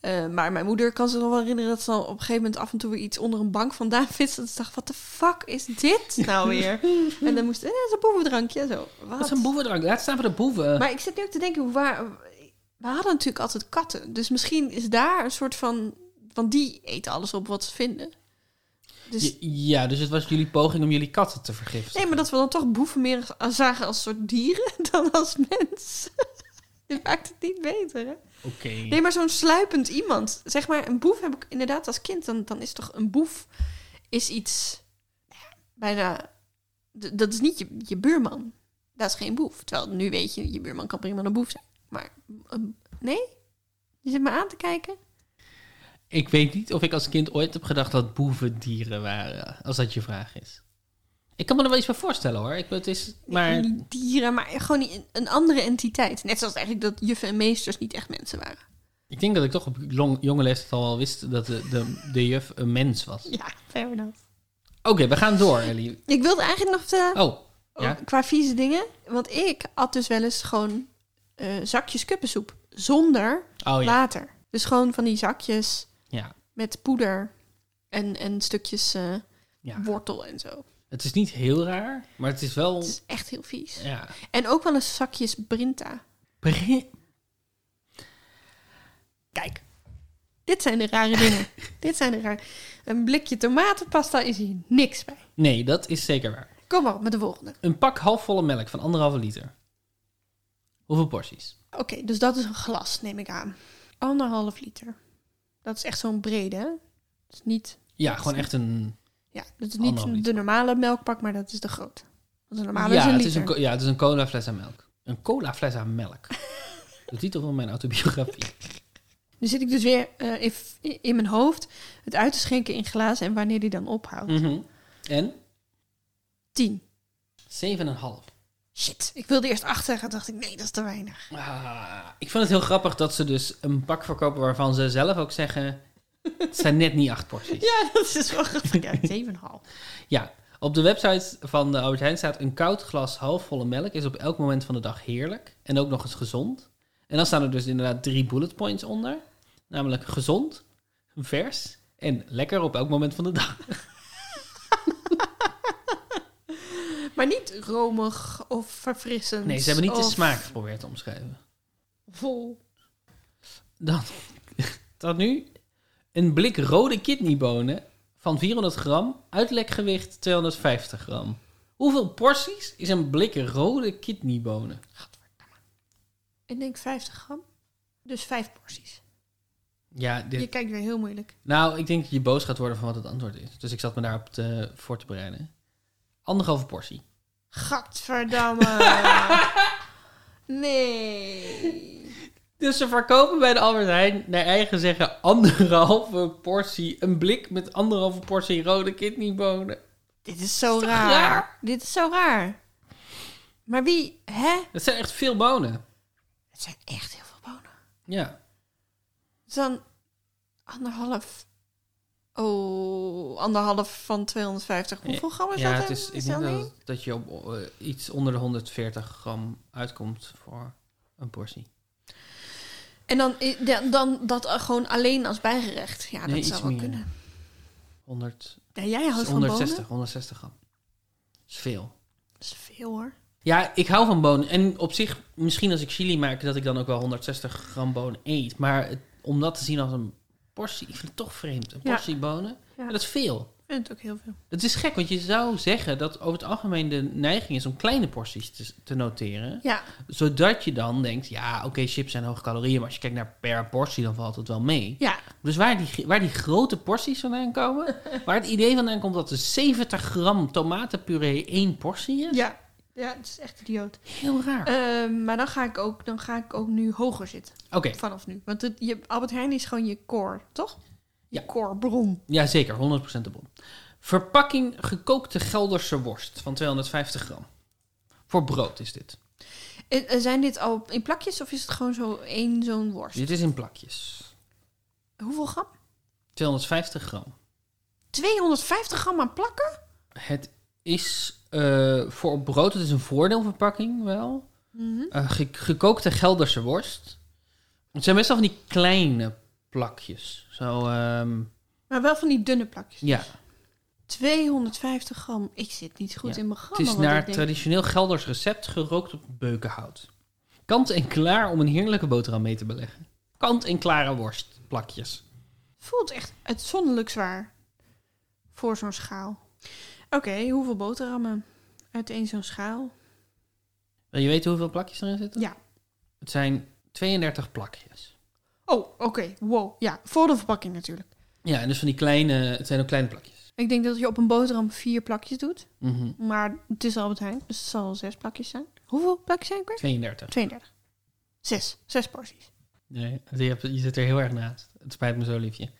Speaker 1: Eh, maar mijn moeder kan zich nog wel herinneren dat ze dan op een gegeven moment af en toe weer iets onder een bank vandaan vist. Dat ze dacht, wat de fuck is dit nou weer? en dan moest, eh, dat is een boevendrankje. Zo,
Speaker 2: Dat is
Speaker 1: wat?
Speaker 2: een boevendrank. Laat staan voor de boeven.
Speaker 1: Maar ik zit nu ook te denken, waar, we hadden natuurlijk altijd katten. Dus misschien is daar een soort van, want die eten alles op wat ze vinden. Dus
Speaker 2: Je- ja, dus het was jullie poging om jullie katten te vergiftigen.
Speaker 1: Nee, maar dat we dan toch boeven meer zagen als soort dieren dan als mens. Dit maakt het niet beter, hè?
Speaker 2: Oké.
Speaker 1: Nee, maar zo'n sluipend iemand. Zeg maar, een boef heb ik inderdaad als kind. Dan, dan is toch een boef is iets nou ja, bijna... d- Dat is niet je, je buurman. Dat is geen boef. Terwijl nu weet je, je buurman kan prima een boef zijn. Maar een- nee? Je zit me aan te kijken?
Speaker 2: Ik weet niet of ik als kind ooit heb gedacht dat boeven dieren waren. Als dat je vraag is. Ik kan me er wel iets bij voorstellen hoor. Ik, het is, maar
Speaker 1: Niet dieren, maar gewoon een- een andere entiteit. Net zoals eigenlijk dat juffen en meesters niet echt mensen waren.
Speaker 2: ik denk dat ik toch op long- jonge leeftijd al wel wist dat de, de, de juf een mens was. Oké,
Speaker 1: Ja, fair enough.
Speaker 2: we gaan door, Ellie.
Speaker 1: Ik wilde eigenlijk nog vertellen,
Speaker 2: Oh, ja.
Speaker 1: qua vieze dingen. Want ik at dus wel eens gewoon eh, zakjes kuppensoep zonder
Speaker 2: Oh ja.
Speaker 1: water. Dus gewoon van die zakjes
Speaker 2: Ja.
Speaker 1: met poeder en, en stukjes eh,
Speaker 2: Ja.
Speaker 1: wortel en zo.
Speaker 2: Het is niet heel raar, maar het is wel...
Speaker 1: Het is echt heel vies.
Speaker 2: Ja.
Speaker 1: En ook wel eens zakjes Brinta.
Speaker 2: Begin-
Speaker 1: Kijk, dit zijn de rare dingen. dit zijn de rare... Een blikje tomatenpasta is hier niks bij.
Speaker 2: Nee, dat is zeker waar.
Speaker 1: Kom maar op met de volgende.
Speaker 2: Een pak halfvolle melk van anderhalve liter. Hoeveel porties?
Speaker 1: Oké, dus dat is een glas, neem ik aan. Anderhalf liter. Dat is echt zo'n brede, hè? Dat is niet,
Speaker 2: Ja, gewoon echt een...
Speaker 1: ja, dat is niet
Speaker 2: Anderhalf
Speaker 1: een- de
Speaker 2: liter. normale
Speaker 1: normale melkpak, maar dat is de grote. Want de normale is
Speaker 2: ja,
Speaker 1: een
Speaker 2: het
Speaker 1: liter.
Speaker 2: is een, co- ja, het is een cola fles aan melk. Een cola fles aan melk. de titel van mijn autobiografie.
Speaker 1: Nu zit ik dus weer eh, in, in mijn hoofd het uit te schenken in glazen en wanneer die dan ophoudt.
Speaker 2: Mhm. En?
Speaker 1: 10.
Speaker 2: 7,5.
Speaker 1: Shit, ik wilde eerst 8 zeggen, dacht ik nee, dat is te weinig.
Speaker 2: Ah, ik vind het heel grappig dat ze dus een pak verkopen waarvan ze zelf ook zeggen... Het zijn net niet acht porties.
Speaker 1: Ja, dat is wel grappig. Ja, 7,5.
Speaker 2: Ja, op de website van de Albert Heijn staat... een koud glas halfvolle melk is op elk moment van de dag heerlijk. En ook nog eens gezond. En dan staan er dus inderdaad drie bullet points onder. Namelijk gezond, vers en lekker op elk moment van de dag.
Speaker 1: Maar niet romig of verfrissend.
Speaker 2: Nee, ze hebben niet de
Speaker 1: of
Speaker 2: smaak geprobeerd te omschrijven.
Speaker 1: Vol.
Speaker 2: Dan, dan nu een blik rode kidneybonen van 400 gram, uitlekgewicht 250 gram. Hoeveel porties is een blik rode kidneybonen?
Speaker 1: Ik denk 50 gram. Dus 5 porties.
Speaker 2: Ja,
Speaker 1: Je
Speaker 2: dit,
Speaker 1: kijkt weer heel moeilijk.
Speaker 2: nou, ik denk dat je boos gaat worden van wat het antwoord is. Dus ik zat me daarop te, voor te bereiden. Anderhalve portie.
Speaker 1: Gadverdamme. nee.
Speaker 2: Dus ze verkopen bij de Albert Heijn naar eigen zeggen anderhalve portie. Een blik met anderhalve portie rode kidneybonen.
Speaker 1: Dit is zo
Speaker 2: toch
Speaker 1: raar.
Speaker 2: raar?
Speaker 1: Dit is zo raar. Maar wie, hè?
Speaker 2: Dat zijn echt veel bonen.
Speaker 1: Het zijn echt heel veel bonen.
Speaker 2: Ja.
Speaker 1: Dus dan anderhalf. Oh, anderhalf van 250. Hoeveel gram is
Speaker 2: ja,
Speaker 1: dat?
Speaker 2: het
Speaker 1: dan?
Speaker 2: is, ik
Speaker 1: Is
Speaker 2: denk
Speaker 1: dat
Speaker 2: dat,
Speaker 1: niet?
Speaker 2: het- dat je op eh, iets onder de 140 gram uitkomt voor een portie.
Speaker 1: En dan, i- da- dan dat eh, gewoon alleen als bijgerecht. Ja,
Speaker 2: Nee,
Speaker 1: dat zou
Speaker 2: iets
Speaker 1: wel
Speaker 2: meer.
Speaker 1: kunnen.
Speaker 2: 100,
Speaker 1: Ja, jij houdt van bonen?
Speaker 2: 160, 160 gram. Dat is veel.
Speaker 1: Dat is veel hoor.
Speaker 2: Ja, ik hou van bonen. En op zich, misschien als ik chili maak, dat ik dan ook wel 160 gram bonen eet. Maar het- om dat te zien als een portie, ik vind het toch vreemd. Een
Speaker 1: Ja.
Speaker 2: portie bonen,
Speaker 1: Ja.
Speaker 2: dat is veel.
Speaker 1: Ik vind het ook heel veel.
Speaker 2: Het is gek, want je zou zeggen dat over het algemeen de neiging is om kleine porties te, te noteren.
Speaker 1: Ja,
Speaker 2: Zodat je dan denkt, ja, oké, chips zijn hoge calorieën, maar als je kijkt naar per portie, dan valt het wel mee.
Speaker 1: ja.
Speaker 2: Dus waar die, waar die grote porties vandaan komen, waar het idee vandaan komt dat er 70 gram tomatenpuree één portie is,
Speaker 1: Ja, ja het is echt idioot.
Speaker 2: heel raar.
Speaker 1: Ehm, maar dan ga, ik ook, dan ga ik ook nu hoger zitten.
Speaker 2: oké,
Speaker 1: Vanaf nu. Want het, je, Albert Heijn is gewoon je core, toch? Je
Speaker 2: Ja.
Speaker 1: core bron.
Speaker 2: ja zeker, 100% de bron. Verpakking gekookte Gelderse worst van 250 gram. Voor brood is dit.
Speaker 1: En, eh, zijn dit al in plakjes of is het gewoon zo één zo'n worst?
Speaker 2: Dit is in plakjes.
Speaker 1: Hoeveel gram?
Speaker 2: 250 gram.
Speaker 1: 250 gram aan plakken?
Speaker 2: Het is eh, voor op brood, het is een voordeelverpakking wel. Eh, ge- gekookte Gelderse worst. Het zijn meestal van die kleine plakjes. Zo, ehm,
Speaker 1: Maar wel van die dunne plakjes.
Speaker 2: ja.
Speaker 1: 250 gram. Ik zit niet goed
Speaker 2: Ja.
Speaker 1: in mijn
Speaker 2: Het
Speaker 1: grammen.
Speaker 2: is
Speaker 1: want
Speaker 2: naar
Speaker 1: ik
Speaker 2: het
Speaker 1: denk-
Speaker 2: traditioneel Gelders recept gerookt op beukenhout. Kant en klaar om een heerlijke boterham mee te beleggen. Kant en klare worstplakjes.
Speaker 1: voelt echt uitzonderlijk zwaar. Voor zo'n schaal. Oké, hoeveel boterhammen uit één zo'n schaal?
Speaker 2: Wil je weten hoeveel plakjes erin zitten?
Speaker 1: Ja.
Speaker 2: Het zijn 32 plakjes.
Speaker 1: Oh, oké. Wow. Ja, voor de verpakking natuurlijk.
Speaker 2: Ja, en dus van die kleine, het zijn ook kleine plakjes.
Speaker 1: Ik denk dat je op een boterham vier plakjes doet.
Speaker 2: Mhm.
Speaker 1: Maar het is Albert Heijn, dus het zal wel zes plakjes zijn. Hoeveel plakjes zijn er?
Speaker 2: 32.
Speaker 1: 32. Zes. Zes porties.
Speaker 2: Nee, je, hebt- je zit er heel erg naast. Het spijt me zo, liefje.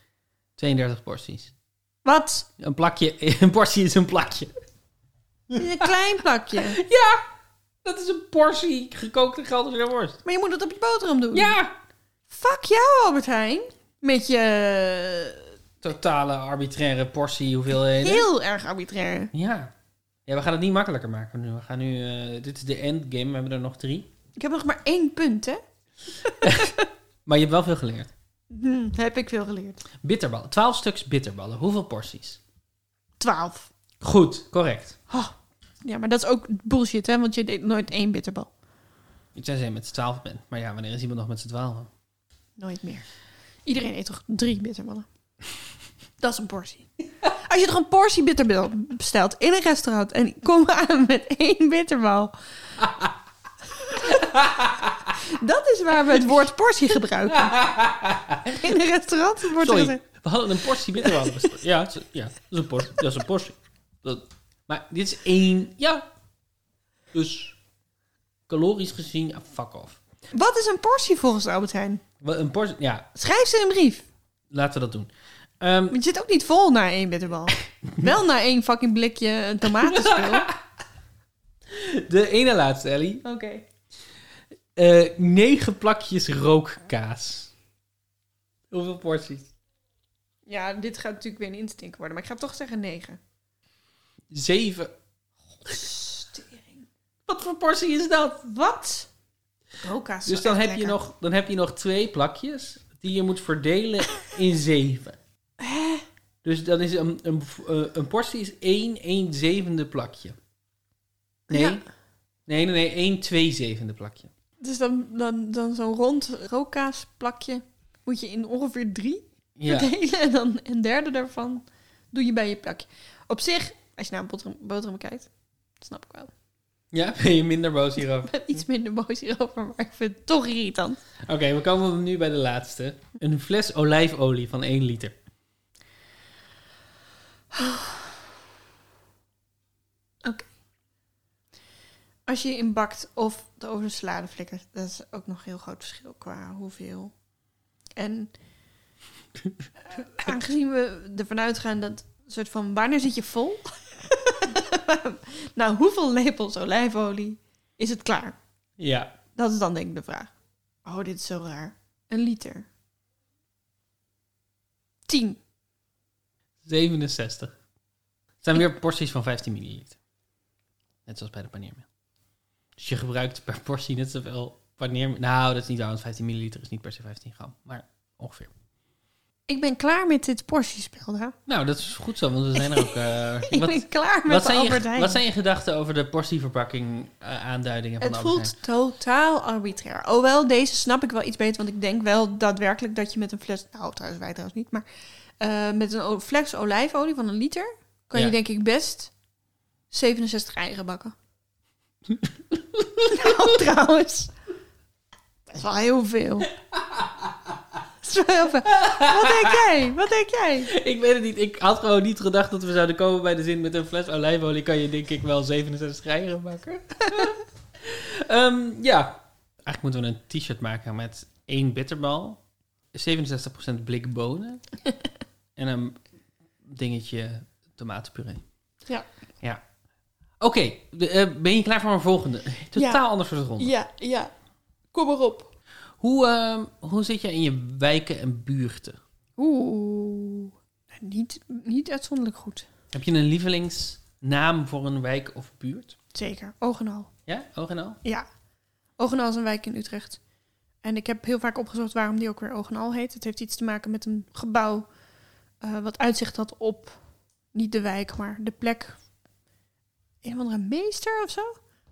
Speaker 2: 32 porties.
Speaker 1: Wat?
Speaker 2: Een plakje, een portie is een plakje.
Speaker 1: Dit is Een klein plakje.
Speaker 2: Ja, dat is een portie gekookte Gelderse worst.
Speaker 1: Maar je moet het op je boterham doen.
Speaker 2: Ja!
Speaker 1: Fuck jou, Albert Heijn. Met je
Speaker 2: Totale arbitraire portie hoeveelheden.
Speaker 1: heel erg arbitrair.
Speaker 2: Ja. Ja, we gaan het niet makkelijker maken nu. We gaan nu, eh, dit is de endgame, we hebben er nog drie.
Speaker 1: Ik heb nog maar één punt, hè?
Speaker 2: Maar je hebt wel veel geleerd.
Speaker 1: Hm, heb ik veel geleerd.
Speaker 2: Bitterballen. 12 stuks bitterballen. Hoeveel porties?
Speaker 1: Twaalf.
Speaker 2: Goed, correct.
Speaker 1: Oh. Ja, maar dat is ook bullshit, hè? Want je deed nooit één bitterbal.
Speaker 2: Ik zei je met z'n twaalf bent. Maar ja, wanneer is iemand nog met z'n twaalf?
Speaker 1: Nooit meer. Iedereen eet toch drie bitterballen? dat is een portie. Als je toch een portie bitterbal bestelt in een restaurant en kom aan met één bitterbal. dat is waar we het woord portie gebruiken. In een restaurant wordt er
Speaker 2: Sorry,
Speaker 1: gezegd-
Speaker 2: we hadden een portie bitterballen besteld. ja, het is- ja, dat is een portie. Dat is een portie. Dat- maar dit is één... Ja. Dus calorisch gezien, ja, fuck off.
Speaker 1: Wat is een portie volgens Albert Heijn?
Speaker 2: Wel, Een portie... Ja,
Speaker 1: Schrijf ze in een brief.
Speaker 2: laten we dat doen. Ehm,
Speaker 1: Want je zit ook niet vol na één bitterbal. Wel na één fucking blikje tomatenspul. Oké.
Speaker 2: de ene laatste, Ellie. Eh, negen plakjes rookkaas. Hoeveel porties?
Speaker 1: Ja, dit gaat natuurlijk weer een instinker worden. Maar ik ga toch zeggen negen.
Speaker 2: Zeven.
Speaker 1: Stering.
Speaker 2: Wat voor portie is dat?
Speaker 1: Wat? Roka's.
Speaker 2: Dus dan heb, je nog, dan heb je nog twee plakjes die je moet verdelen in zeven. Dus dan is een, een, eh, een portie is 1 1 zevende plakje. Nee.
Speaker 1: Ja.
Speaker 2: Nee, nee, nee. 1 2 zevende plakje.
Speaker 1: Dus dan, dan, dan zo'n rond rookkaasplakje moet je in ongeveer drie
Speaker 2: Ja.
Speaker 1: verdelen. En dan een derde daarvan doe je bij je plakje. Op zich, als je naar een boterham, boterham kijkt, dat snap ik wel.
Speaker 2: ja, ben je minder boos hierover.
Speaker 1: Ik ben iets minder boos hierover, maar ik vind het toch irritant.
Speaker 2: Oké, we komen nu bij de laatste. Een fles olijfolie van 1 liter.
Speaker 1: Als je je inbakt of het over de salade flikkert, dat is ook nog een heel groot verschil qua hoeveel. En eh, aangezien we ervan uitgaan dat soort van wanneer zit je vol? nou, hoeveel lepels olijfolie is het klaar?
Speaker 2: Ja.
Speaker 1: Dat is dan denk ik de vraag. Oh, dit is zo raar. Een liter. Tien.
Speaker 2: 67. Het zijn weer porties van 15 milliliter. Net zoals bij de paneermeel. Dus je gebruikt per portie net zoveel paneermeel. Nou, dat is niet waar, want 15 milliliter is niet per se 15 gram. Maar ongeveer.
Speaker 1: Ik ben klaar met dit portiespel, hè?
Speaker 2: Nou, dat is goed zo, want we zijn er ook... eh,
Speaker 1: Ik
Speaker 2: wat,
Speaker 1: ben klaar met
Speaker 2: wat,
Speaker 1: de
Speaker 2: zijn
Speaker 1: Albert
Speaker 2: je,
Speaker 1: Heijn.
Speaker 2: wat zijn je gedachten over de portieverpakking eh, aanduidingen van
Speaker 1: Het
Speaker 2: de Albert
Speaker 1: voelt totaal arbitrair. Alhoewel, deze snap ik wel iets beter. Want ik denk wel daadwerkelijk dat je met een fles... Nou, trouwens, wij trouwens niet. Maar eh, met een o- fles olijfolie van een liter... kan
Speaker 2: Ja.
Speaker 1: je denk ik best 67 eieren bakken. nou, trouwens. Dat is wel heel veel. Dat is wel heel veel. Wat denk jij? Wat denk jij?
Speaker 2: Heijn? Ik weet het niet. Ik had gewoon niet gedacht dat we zouden komen bij de zin... met een fles olijfolie kan je denk ik wel 67 eieren bakken. Ehm, ja. Eigenlijk moeten we een t-shirt maken met één bitterbal... 67% blik bonen... en een dingetje tomatenpuree.
Speaker 1: Ja.
Speaker 2: Ja. Oké, de, eh, ben je klaar voor mijn volgende? Totaal anders voor de ronde.
Speaker 1: Ja, ja. Kom maar op.
Speaker 2: Hoe, ehm, hoe zit je in je wijken en buurten?
Speaker 1: Oeh. Nou, Niet, niet uitzonderlijk goed.
Speaker 2: Heb je een lievelingsnaam voor een wijk of buurt?
Speaker 1: Zeker. Oog en al.
Speaker 2: Ja, oog en al?
Speaker 1: Ja. Ogenal is een wijk in Utrecht. En ik heb heel vaak opgezocht waarom die ook weer Ogenal heet. Het heeft iets te maken met een gebouw eh, wat uitzicht had op niet de wijk, maar de plek. Een of andere meester of zo?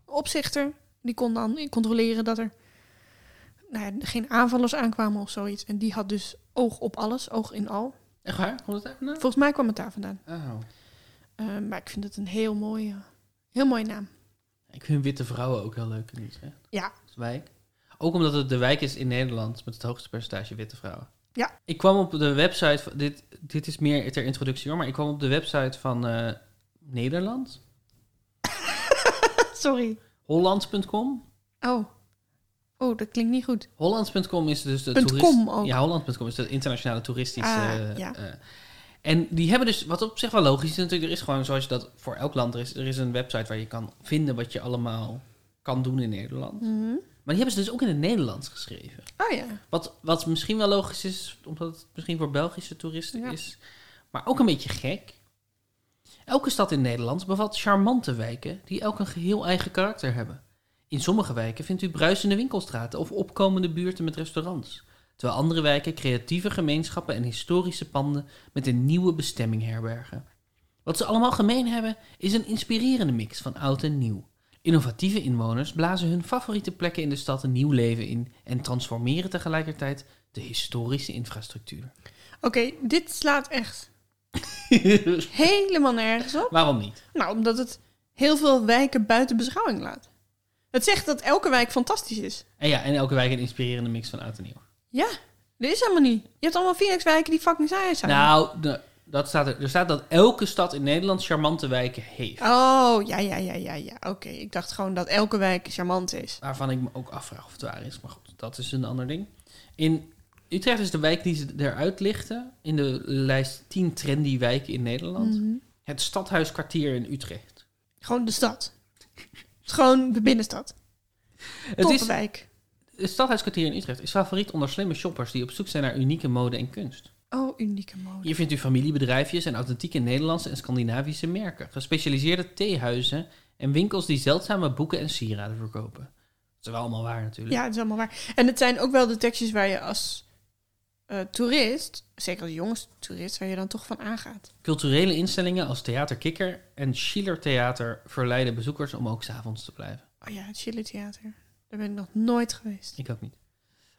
Speaker 1: Opzichter. Die kon dan controleren dat er nou ja, geen aanvallers aankwamen of zoiets. En die had dus oog op alles, oog in al.
Speaker 2: Echt waar? Komt het daar vandaan?
Speaker 1: Volgens mij kwam het daar vandaan.
Speaker 2: Oh.
Speaker 1: Eh, maar ik vind het een heel mooie, heel mooie naam.
Speaker 2: Ik vind witte vrouwen ook heel leuk in Utrecht.
Speaker 1: Ja.
Speaker 2: Als wijk. Ook omdat het de wijk is in Nederland met het hoogste percentage witte vrouwen.
Speaker 1: Ja.
Speaker 2: Ik kwam op de website, van, dit, dit is meer ter introductie hoor, maar ik kwam op de website van eh, Nederland,
Speaker 1: Sorry.
Speaker 2: hollands.com.
Speaker 1: Oh. Oh, dat klinkt niet goed.
Speaker 2: Hollands.com is dus de
Speaker 1: Punt
Speaker 2: toerist-
Speaker 1: com ook.
Speaker 2: Ja, Holland.com is de internationale toeristische.
Speaker 1: Ah,
Speaker 2: eh,
Speaker 1: ja.
Speaker 2: eh. en die hebben dus, wat op zich wel logisch is natuurlijk, er is gewoon, zoals je dat voor elk land er is, er is een website waar je kan vinden wat je allemaal kan doen in Nederland. Maar die hebben ze dus ook in het Nederlands geschreven.
Speaker 1: Oh ja.
Speaker 2: Wat, wat misschien wel logisch is, omdat het misschien voor Belgische toeristen
Speaker 1: Ja.
Speaker 2: is, maar ook een beetje gek. Elke stad in Nederland bevat charmante wijken die elk een geheel eigen karakter hebben. In sommige wijken vindt u bruisende winkelstraten of opkomende buurten met restaurants. terwijl andere wijken creatieve gemeenschappen en historische panden met een nieuwe bestemming herbergen. Wat ze allemaal gemeen hebben, is een inspirerende mix van oud en nieuw. Innovatieve inwoners blazen hun favoriete plekken in de stad een nieuw leven in en transformeren tegelijkertijd de historische infrastructuur.
Speaker 1: Oké, dit slaat echt helemaal nergens op.
Speaker 2: Waarom niet?
Speaker 1: Nou, omdat het heel veel wijken buiten beschouwing laat. Het zegt dat elke wijk fantastisch is.
Speaker 2: En ja, en elke wijk een inspirerende mix van oud en nieuw.
Speaker 1: Ja, dat is helemaal niet. Je hebt allemaal Phoenix-wijken die fucking saai zijn.
Speaker 2: Nou, de- dat staat er, er staat dat elke stad in Nederland charmante wijken heeft.
Speaker 1: Oh, ja, ja, ja, ja, ja. Oké, ik dacht gewoon dat elke wijk charmant is.
Speaker 2: Waarvan ik me ook afvraag of het waar is. Maar goed, dat is een ander ding. In Utrecht is de wijk die ze eruit lichten in de lijst 10 trendy wijken in Nederland.
Speaker 1: Mm.
Speaker 2: Het stadhuiskwartier in Utrecht.
Speaker 1: Mhm. Gewoon de stad. Het is gewoon de binnenstad.
Speaker 2: Het, is,
Speaker 1: Topwijk.
Speaker 2: het stadhuiskwartier in Utrecht is favoriet onder slimme shoppers die op zoek zijn naar unieke mode en kunst.
Speaker 1: Oh, unieke mode.
Speaker 2: Hier vindt u familiebedrijfjes en authentieke Nederlandse en Scandinavische merken, gespecialiseerde theehuizen en winkels die zeldzame boeken en sieraden verkopen. Dat is wel allemaal waar natuurlijk.
Speaker 1: Ja, het is allemaal waar. En het zijn ook wel de tekstjes waar je als eh, toerist, zeker als jongenstoerist, waar je dan toch van aangaat.
Speaker 2: Culturele instellingen als Theater Kikker en Schiller Theater verleiden bezoekers om ook s'avonds te blijven.
Speaker 1: Oh ja, het Chili Theater. Daar ben ik nog nooit geweest.
Speaker 2: Ik ook niet.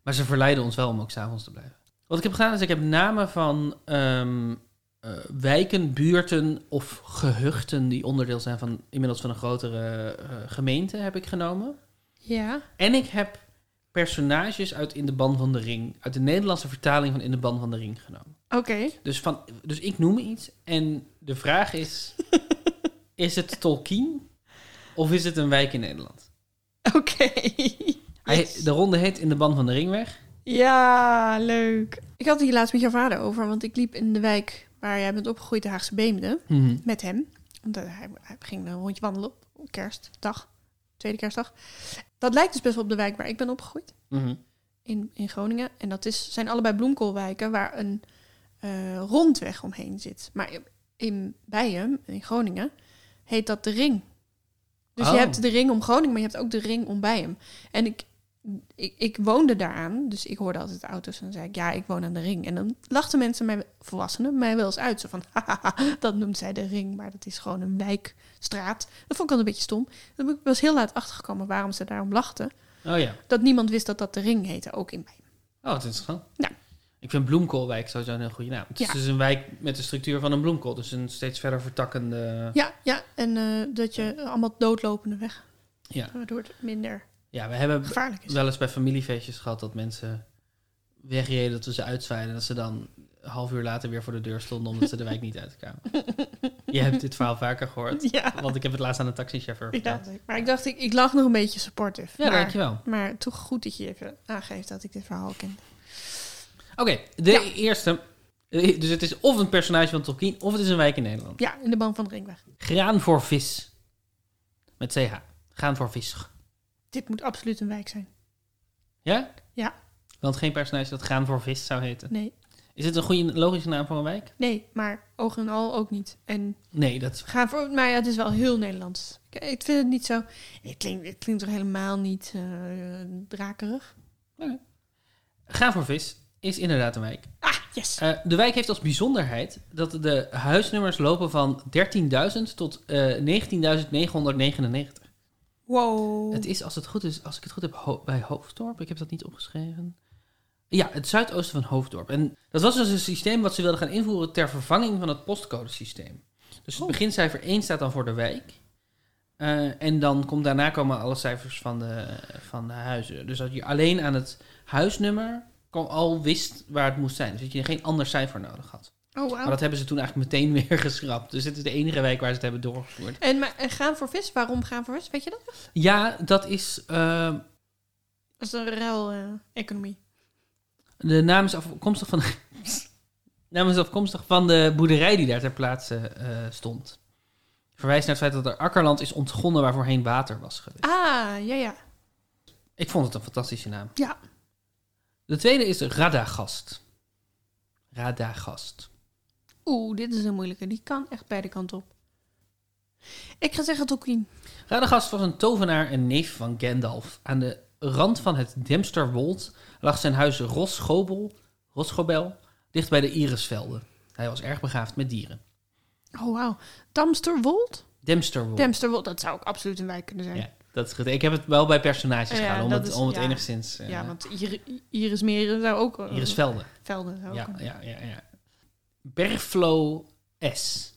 Speaker 2: Maar ze verleiden ons wel om ook s'avonds te blijven. Wat ik heb gedaan is, ik heb namen van ehm, eh, wijken, buurten of gehuchten die onderdeel zijn van inmiddels van een grotere eh, gemeente heb ik genomen.
Speaker 1: Ja.
Speaker 2: En ik heb personages uit In de Ban van de Ring, uit de Nederlandse vertaling van In de Ban van de Ring genomen.
Speaker 1: Oké.
Speaker 2: Dus, van, dus ik noem iets en de vraag is: is het Tolkien of is het een wijk in Nederland?
Speaker 1: Oké.
Speaker 2: Hij, de ronde heet In de Ban van de Ringweg.
Speaker 1: Ja, leuk. Ik had het hier laatst met jouw vader over, want ik liep in de wijk waar jij bent opgegroeid, de Haagse Beemden,
Speaker 2: Mhm.
Speaker 1: met hem. Omdat hij, hij ging een rondje wandelen op, op kerstdag, tweede kerstdag. Dat lijkt dus best wel op de wijk waar ik ben opgegroeid,
Speaker 2: Mhm.
Speaker 1: in, in Groningen. En dat is, zijn allebei bloemkoolwijken waar een eh, rondweg omheen zit. Maar in- in Bijen, in Groningen, heet dat de ring. Dus
Speaker 2: Oh.
Speaker 1: je hebt de ring om Groningen, maar je hebt ook de ring om Bijen. En ik, ik, ik woonde daaraan, dus ik hoorde altijd auto's en dan zei ik, ja, ik woon aan de ring. En dan lachten mensen, mij, volwassenen, mij wel eens uit. Zo van, haha, dat noemt zij de ring, maar dat is gewoon een wijkstraat. Dat vond ik al een beetje stom. Dan ben ik was heel laat achtergekomen waarom ze daarom lachten.
Speaker 2: Oh ja.
Speaker 1: Dat niemand wist dat dat de ring heette, ook in Bijen.
Speaker 2: Oh, wat interessant.
Speaker 1: Nou.
Speaker 2: Ik vind Bloemkoolwijk sowieso een heel goede naam. Het is
Speaker 1: Ja.
Speaker 2: dus een wijk met de structuur van een bloemkool. Dus een steeds verder vertakkende...
Speaker 1: Ja, ja, en eh, dat je allemaal doodlopende weg,
Speaker 2: Ja.
Speaker 1: waardoor het minder
Speaker 2: Ja, we hebben
Speaker 1: gevaarlijk is.
Speaker 2: wel eens bij familiefeestjes gehad dat mensen wegreden, dat we ze uitzwaaiden. En dat ze dan een half uur later weer voor de deur stonden omdat ze de wijk niet uitkwamen. Je hebt dit verhaal vaker gehoord.
Speaker 1: Ja,
Speaker 2: Want ik heb het laatst aan een taxichauffeur
Speaker 1: ja,
Speaker 2: verteld.
Speaker 1: maar ik dacht, ik, ik lag nog een beetje supportive.
Speaker 2: Ja,
Speaker 1: maar-
Speaker 2: dankjewel.
Speaker 1: Maar toch goed dat je even aangeeft dat ik dit verhaal ken.
Speaker 2: Oké, de
Speaker 1: Ja.
Speaker 2: eerste. Eh, Dus het is of een personage van Tolkien, of het is een wijk in Nederland.
Speaker 1: Ja, in de band van de ringweg.
Speaker 2: Graan voor vis. Met CH. Graan voor vis.
Speaker 1: Dit moet absoluut een wijk zijn.
Speaker 2: Ja?
Speaker 1: Ja.
Speaker 2: Want geen personage dat Graan voor vis zou heten.
Speaker 1: Nee,
Speaker 2: Is dit een goede logische naam voor een wijk?
Speaker 1: nee, maar ogen en al ook niet. En
Speaker 2: Nee, dat is...
Speaker 1: gaan voor. Maar ja, het is wel heel Nederlands. Ik, ik vind het niet zo. Het klinkt, het klinkt toch helemaal niet eh, drakerig.
Speaker 2: Graan voor vis is inderdaad een wijk.
Speaker 1: Ah, yes.
Speaker 2: Eh, de wijk heeft als bijzonderheid dat de huisnummers lopen van 13.000 tot eh 19.999.
Speaker 1: Wow.
Speaker 2: Het is, als, het goed is, als ik het goed heb, Ho- bij Hoofddorp. Ik heb dat niet opgeschreven. Ja, het zuidoosten van Hoofddorp. En dat was dus een systeem wat ze wilden gaan invoeren ter vervanging van het postcodesysteem. Dus het
Speaker 1: Oh.
Speaker 2: begincijfer 1 staat dan voor de wijk. Eh, en dan komt, daarna komen alle cijfers van de, van de huizen. Dus dat je alleen aan het huisnummer kon- al wist waar het moest zijn. Dus dat je geen ander cijfer nodig had.
Speaker 1: Oh,
Speaker 2: Maar
Speaker 1: wow.
Speaker 2: dat hebben ze toen eigenlijk meteen weer geschrapt. Dus dit is de enige wijk waar ze het hebben doorgevoerd.
Speaker 1: En, maar, en gaan voor vis? Waarom gaan voor vis? Weet je dat?
Speaker 2: Ja, dat is eh,
Speaker 1: Dat is een eh, ruil-economie.
Speaker 2: De naam is afkomstig van. naam is afkomstig van de boerderij die daar ter plaatse eh, stond. Verwijst naar het feit dat er akkerland is ontgonnen waar voorheen water was geweest.
Speaker 1: ah, ja, ja.
Speaker 2: Ik vond het een fantastische naam.
Speaker 1: Ja.
Speaker 2: De tweede is Radagast. Radagast.
Speaker 1: Oeh, dit is een moeilijke. Die kan echt beide kanten op. Ik ga zeggen Tolkien.
Speaker 2: Radagast was een tovenaar en neef van Gandalf aan de rand van het Demsterwold lag zijn huis Rosschobel, Rosschobel dicht bij de Irisvelden. Hij was erg begaafd met dieren.
Speaker 1: Oh, wauw. Damsterwold?
Speaker 2: Demsterwold.
Speaker 1: Damsterwold, dat zou ook absoluut een wijk kunnen zijn.
Speaker 2: Oh. ja, dat is goed. Ik heb het wel bij personages
Speaker 1: Ja,
Speaker 2: gehaald, om
Speaker 1: dat
Speaker 2: het,
Speaker 1: is-
Speaker 2: om het
Speaker 1: ja.
Speaker 2: enigszins... eh,
Speaker 1: Ja, want Iris, Iris Meren zou ook... eh,
Speaker 2: Irisvelden.
Speaker 1: Velden zou ook
Speaker 2: Ja,
Speaker 1: kunnen.
Speaker 2: ja, ja, ja. Bergflow S.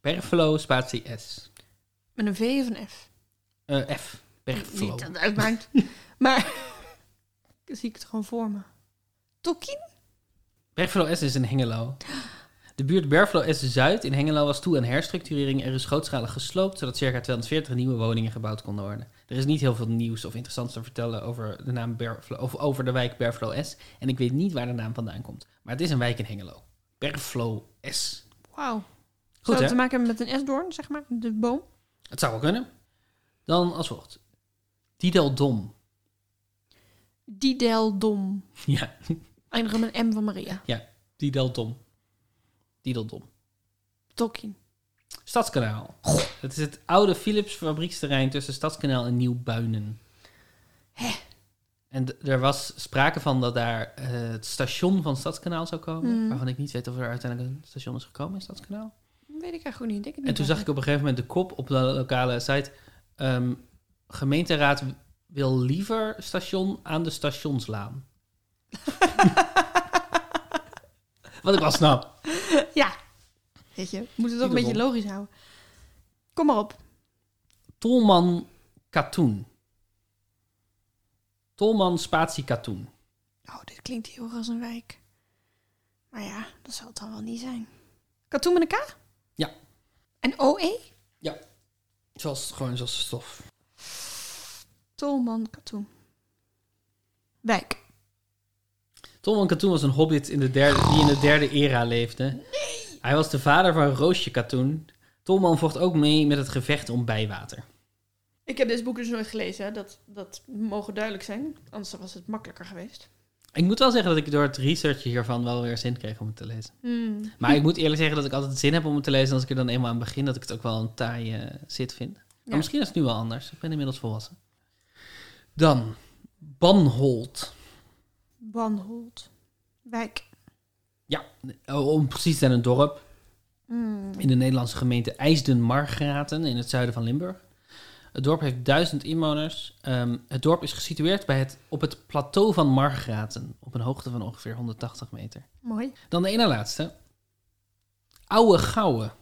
Speaker 2: Bergflow spatie S.
Speaker 1: Met een V of een F?
Speaker 2: Eh, F.
Speaker 1: Niet
Speaker 2: Bergflow.
Speaker 1: dat het uitmaakt. maar zie ik het gewoon voor me. Tokkie?
Speaker 2: Bergflow S is in Hengelo. De buurt Bergflow S Zuid in Hengelo was toe aan herstructurering. Er is grootschalig gesloopt, zodat circa 240 nieuwe woningen gebouwd konden worden. Er is niet heel veel nieuws of interessants te vertellen over de, naam Bergflow, of over de wijk Bergflow S. En ik weet niet waar de naam vandaan komt. Maar het is een wijk in Hengelo. Bergflow S.
Speaker 1: Wauw.
Speaker 2: Goed,
Speaker 1: Zou
Speaker 2: hè?
Speaker 1: het te maken hebben met een esdoorn, zeg maar? De boom?
Speaker 2: Het zou wel kunnen. Dan als volgt. Dideldom.
Speaker 1: Dideldom.
Speaker 2: Ja,
Speaker 1: Eindigen met een M van Maria.
Speaker 2: Dideldom. Dideldom.
Speaker 1: Tokkie.
Speaker 2: Stadskanaal. Het is het oude Philips fabrieksterrein tussen Stadskanaal en Nieuwbuinen.
Speaker 1: Hè?
Speaker 2: En d- er was sprake van dat daar eh, het station van Stadskanaal zou komen.
Speaker 1: Mhm.
Speaker 2: Waarvan ik niet weet of er uiteindelijk een station is gekomen in Stadskanaal.
Speaker 1: Weet ik eigenlijk niet. Denk het
Speaker 2: En toen zag ik op een gegeven moment de kop op de lokale site. ehm, gemeenteraad wil liever station aan de stationslaan. Wat ik wel snap.
Speaker 1: Ja. Weet je, moet het toch een
Speaker 2: Dideldom.
Speaker 1: beetje logisch houden. Kom maar op.
Speaker 2: Tolman Katoen. Tolman Spatie Katoen.
Speaker 1: Oh, dit klinkt heel erg als een wijk. Maar ja, dat zal het dan wel niet zijn. Katoen met een K?
Speaker 2: Ja.
Speaker 1: En E? OE?
Speaker 2: Zoals, gewoon zoals stof.
Speaker 1: Tolman Katoen. Wijk.
Speaker 2: Tolman Katoen was een hobbit in de derde, die in de derde era leefde. Hij was de vader van Roosje Katoen. Tolman vocht ook mee met het gevecht om bijwater.
Speaker 1: Ik heb dit boek dus nooit gelezen. hè. Dat, dat mogen duidelijk zijn. Anders was het makkelijker geweest.
Speaker 2: Ik moet wel zeggen dat ik door het researchen hiervan wel weer zin kreeg om het te lezen.
Speaker 1: Hmm.
Speaker 2: Maar ik moet eerlijk zeggen dat ik altijd zin heb om het te lezen. Als ik er dan eenmaal aan begin, dat ik het ook wel een taai eh, zit vind. Maar
Speaker 1: Ja.
Speaker 2: misschien is het nu wel anders. Ik ben inmiddels volwassen. Dan, Banholt.
Speaker 1: Banhold. Wijk.
Speaker 2: Ja, oh, om precies zijn een dorp.
Speaker 1: Hmm.
Speaker 2: in de Nederlandse gemeente IJsden-Margraten in het zuiden van Limburg. Het dorp heeft duizend inwoners. Ehm, het dorp is gesitueerd bij het, op het plateau van Margraten, op een hoogte van ongeveer 180 meter.
Speaker 1: Mooi.
Speaker 2: Dan de ene laatste. Oude Gouwe.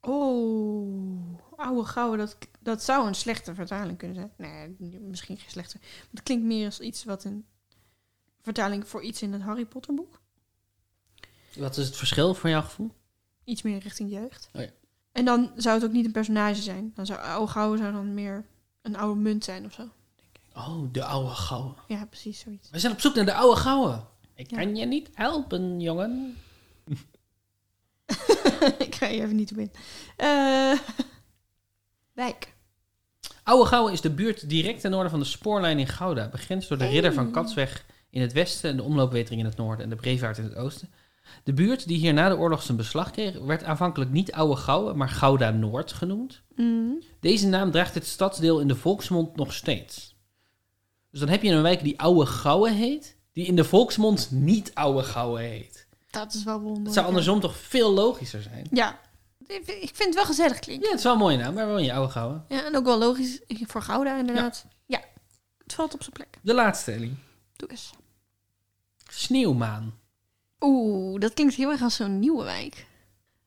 Speaker 1: Oh, oude gouden. Dat, dat zou een slechte vertaling kunnen zijn. Nee, misschien geen slechte. Maar Het klinkt meer als iets wat een vertaling voor iets in het Harry Potter boek.
Speaker 2: Wat is het verschil voor jouw gevoel?
Speaker 1: Iets meer richting jeugd.
Speaker 2: Oh ja.
Speaker 1: En dan zou het ook niet een personage zijn. Dan zou oude gouden zou dan meer een oude munt zijn of zo.
Speaker 2: Oh, de Oude Gouwe.
Speaker 1: Ja, precies zoiets.
Speaker 2: We zijn op zoek naar de Oude Gouwe. Ik
Speaker 1: Ja.
Speaker 2: kan je niet helpen, jongen.
Speaker 1: ik ga je even niet op in. Eh, wijk.
Speaker 2: Oude Gouwe is de buurt direct ten noorden van de spoorlijn in Gouda. Begrensd door de
Speaker 1: Hey.
Speaker 2: Ridder van Katsweg in het westen en de Omloopwetering in het noorden en de Brevaart in het oosten. De buurt die hier na de oorlog zijn beslag kreeg, werd aanvankelijk niet Oude Gouwe, maar Gouda Noord genoemd.
Speaker 1: Mm.
Speaker 2: Deze naam draagt het stadsdeel in de volksmond nog steeds. Dus dan heb je een wijk die Oude Gouwe heet, die in de volksmond niet Oude Gouwe heet.
Speaker 1: Dat is wel wonderlijk.
Speaker 2: Het zou andersom toch veel logischer zijn?
Speaker 1: Ja. Ik vind- ik vind het wel gezellig klinken.
Speaker 2: Ja, het is wel een mooie naam. Waar woon je, Oude Gouwe?
Speaker 1: Ja, en ook wel logisch voor Gouda inderdaad. Ja. Het valt op zijn plek.
Speaker 2: De laatste, Ellie.
Speaker 1: Doe eens.
Speaker 2: Sneeuwmaan.
Speaker 1: Oeh, dat klinkt heel erg als zo'n nieuwe wijk. Een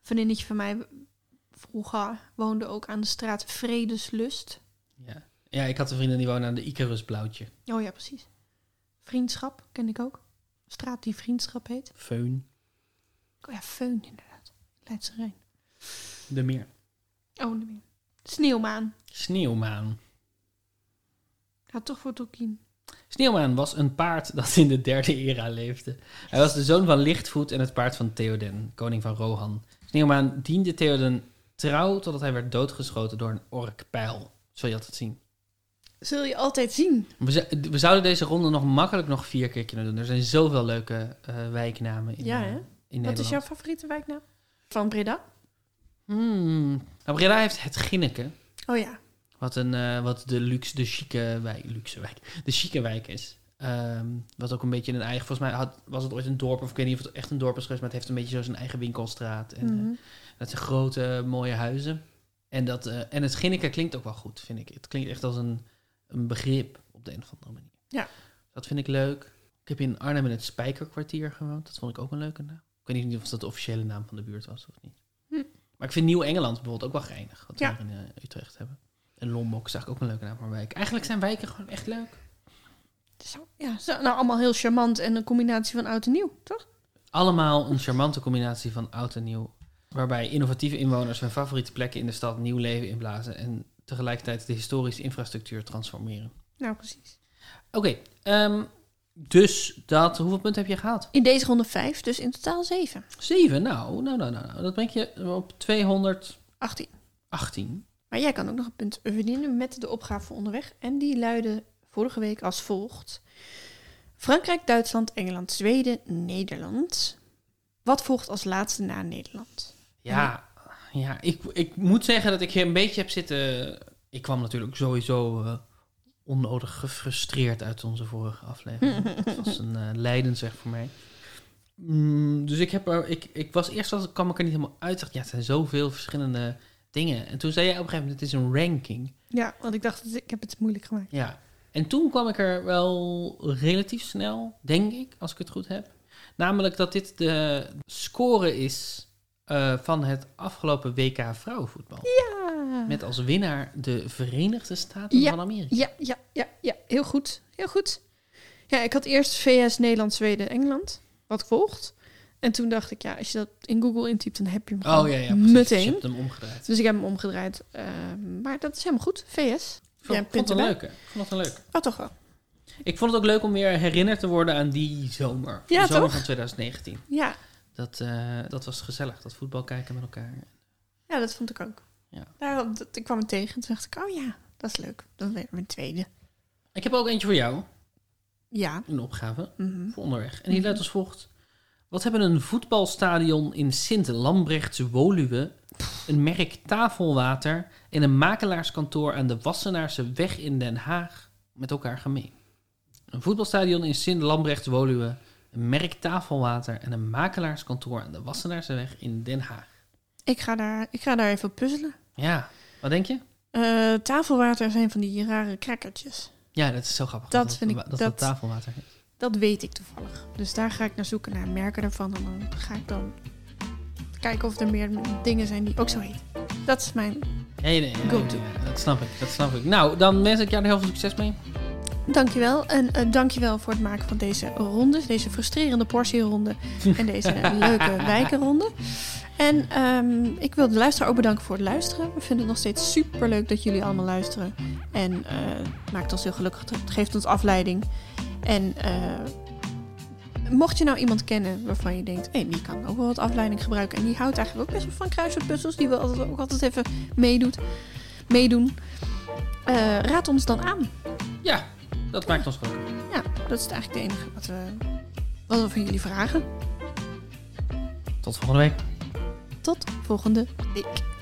Speaker 1: vriendinnetje van mij vroeger woonde ook aan de straat Vredeslust.
Speaker 2: Ja. ja, ik had een vriendin die woonde aan de Icarus Blauwtje.
Speaker 1: Oh ja, precies. Vriendschap ken ik ook. Straat die Vriendschap heet.
Speaker 2: Feun.
Speaker 1: Oh ja, Feun inderdaad. Leidse Rijn.
Speaker 2: De meer.
Speaker 1: Oh, nee. Sneeuwmaan.
Speaker 2: Sneeuwmaan.
Speaker 1: Ga toch voor Tolkien.
Speaker 2: Sneeuwmaan was een paard dat in de derde era leefde. Hij was de zoon van Lichtvoet en het paard van Theoden, koning van Rohan. Sneeuwmaan diende Theoden trouw totdat hij werd doodgeschoten door een orkpijl. Zul je altijd zien.
Speaker 1: Zul je altijd zien.
Speaker 2: We, z- we zouden deze ronde nog makkelijk nog vier keer kunnen doen. Er zijn zoveel leuke eh, wijknamen in,
Speaker 1: Ja,
Speaker 2: eh,
Speaker 1: hè?
Speaker 2: in Nederland.
Speaker 1: Wat is jouw favoriete wijknaam? Van Breda?
Speaker 2: Hmm. Nou, Breda heeft het Ginneke.
Speaker 1: Oh ja.
Speaker 2: Wat Wat, een, eh, wat de luxe, de chique wijk, luxe wijk, de chique wijk is. Ehm, wat ook een beetje een eigen, volgens mij had, was het ooit een dorp, of ik weet niet of het echt een dorp is geweest, maar het heeft een beetje zo zijn eigen winkelstraat. En, eh,
Speaker 1: Mhm.
Speaker 2: dat zijn grote, mooie huizen. En, dat, eh, en het Ginneke klinkt ook wel goed, vind ik. Het klinkt echt als een, een begrip op de een of andere manier.
Speaker 1: Ja.
Speaker 2: Dat vind ik leuk. Ik heb in Arnhem in het Spijkerkwartier gewoond. Dat vond ik ook een leuke naam. Ik weet niet of dat de officiële naam van de buurt was of niet.
Speaker 1: Hm.
Speaker 2: Maar ik vind Nieuw-Engeland bijvoorbeeld ook wel geinig. Wat
Speaker 1: Ja.
Speaker 2: we hier in eh, Utrecht hebben. En Lombok zag ik ook een leuke naam voor een wijk. Eigenlijk zijn wijken gewoon echt leuk.
Speaker 1: Zo, ja, zo, nou allemaal heel charmant en een combinatie van oud en nieuw, toch?
Speaker 2: Allemaal een charmante combinatie van oud en nieuw. Waarbij innovatieve inwoners hun favoriete plekken in de stad nieuw leven inblazen. En tegelijkertijd de historische infrastructuur transformeren.
Speaker 1: Nou, precies.
Speaker 2: Oké, ehm, dus dat. Hoeveel punten heb je gehaald?
Speaker 1: In deze ronde vijf, dus in totaal zeven.
Speaker 2: Zeven. Nou, nou, nou, nou. nou. Dat brengt je op 218.
Speaker 1: 18. Maar jij kan ook nog een punt verdienen met de opgave voor onderweg. En die luidde vorige week als volgt. Frankrijk, Duitsland, Engeland, Zweden, Nederland. Wat volgt als laatste na Nederland?
Speaker 2: Ja, ja ik, ik moet zeggen dat ik hier een beetje heb zitten. Ik kwam natuurlijk sowieso eh, onnodig gefrustreerd uit onze vorige
Speaker 1: Hm.
Speaker 2: aflevering. Het was een eh lijdensweg voor mij. Mm, dus ik, heb er, ik, ik was eerst als kwam ik er niet helemaal uit. Ik dacht, ja, het zijn zoveel verschillende dingen. En toen zei jij op een gegeven moment: het is een ranking.
Speaker 1: Ja, want ik dacht, ik heb het moeilijk gemaakt.
Speaker 2: Ja. En toen kwam ik er wel relatief snel, denk ik, als ik het goed heb. Namelijk dat dit de score is eh, van het afgelopen WK vrouwenvoetbal.
Speaker 1: Ja.
Speaker 2: Met als winnaar de Verenigde Staten
Speaker 1: Ja.
Speaker 2: van Amerika.
Speaker 1: Ja, ja, ja, ja. Heel goed. Heel goed. Ja, ik had eerst VS, Nederland, Zweden, Engeland. Wat volgt. En toen dacht ik, ja, als je dat in Google intypt, dan heb je hem
Speaker 2: Oh
Speaker 1: gewoon
Speaker 2: ja, ja precies. Je
Speaker 1: meteen.
Speaker 2: hebt hem omgedraaid.
Speaker 1: Dus ik heb hem omgedraaid. Eh, maar dat is helemaal goed. VS.
Speaker 2: Ik vond,
Speaker 1: Ja,
Speaker 2: ik vond het
Speaker 1: punten
Speaker 2: een leuke. Ik vond het een leuke.
Speaker 1: Oh, toch wel.
Speaker 2: Ik vond het ook leuk om weer herinnerd te worden aan die zomer.
Speaker 1: Ja,
Speaker 2: de zomer
Speaker 1: toch?
Speaker 2: van 2019.
Speaker 1: Ja.
Speaker 2: Dat, eh, dat was gezellig, dat voetbal kijken met elkaar.
Speaker 1: ja, dat vond ik ook.
Speaker 2: Ja.
Speaker 1: Daar, dat, ik kwam het tegen en toen dacht ik, oh ja, dat is leuk. Dat is weer mijn tweede.
Speaker 2: Ik heb ook eentje voor jou,
Speaker 1: Ja.
Speaker 2: een opgave.
Speaker 1: Mhm.
Speaker 2: voor onderweg. En die luidt als volgt. Wat hebben een voetbalstadion in Sint-Lambrechts-Woluwe, een merk tafelwater en een makelaarskantoor aan de Wassenaarse weg in Den Haag met elkaar gemeen? Een voetbalstadion in Sint-Lambrechts-Woluwe, een merk tafelwater en een makelaarskantoor aan de Wassenaarse weg in Den Haag.
Speaker 1: Ik, ga daar, ik ga daar even op puzzelen.
Speaker 2: Ja, wat denk je?
Speaker 1: Eh, tafelwater zijn van die rare crackertjes.
Speaker 2: Ja, dat is zo grappig.
Speaker 1: Dat vind ik-
Speaker 2: Dat dat,
Speaker 1: dat-
Speaker 2: tafelwater is.
Speaker 1: Dat weet ik toevallig. Dus daar ga ik naar zoeken naar merken ervan. En dan ga ik dan kijken of er meer dingen zijn die ook zo heten. Dat is mijn.
Speaker 2: Nee, nee, nee,
Speaker 1: Go to.
Speaker 2: nee, Dat snap ik, dat snap ik. Nou, dan wens ik jou er heel veel succes mee.
Speaker 1: Dankjewel. En eh, dankjewel voor het maken van deze rondes. Deze frustrerende portieronde. En deze leuke wijkenronde. En ehm, ik wil de luisteraar ook bedanken voor het luisteren. We vinden het nog steeds super leuk dat jullie allemaal luisteren. En eh, maakt ons heel gelukkig. Het geeft ons afleiding. En eh, mocht je nou iemand kennen waarvan je denkt, hé, die kan ook wel wat afleiding gebruiken. En die houdt eigenlijk ook best wel van kruiswoordpuzzels, die we altijd, ook altijd even meedoet, meedoen. eh, raad ons dan aan.
Speaker 2: Ja, dat maakt ons gelukkig.
Speaker 1: Ja, dat is het eigenlijk het enige wat we, wat we van jullie vragen.
Speaker 2: Tot volgende week.
Speaker 1: Tot volgende week.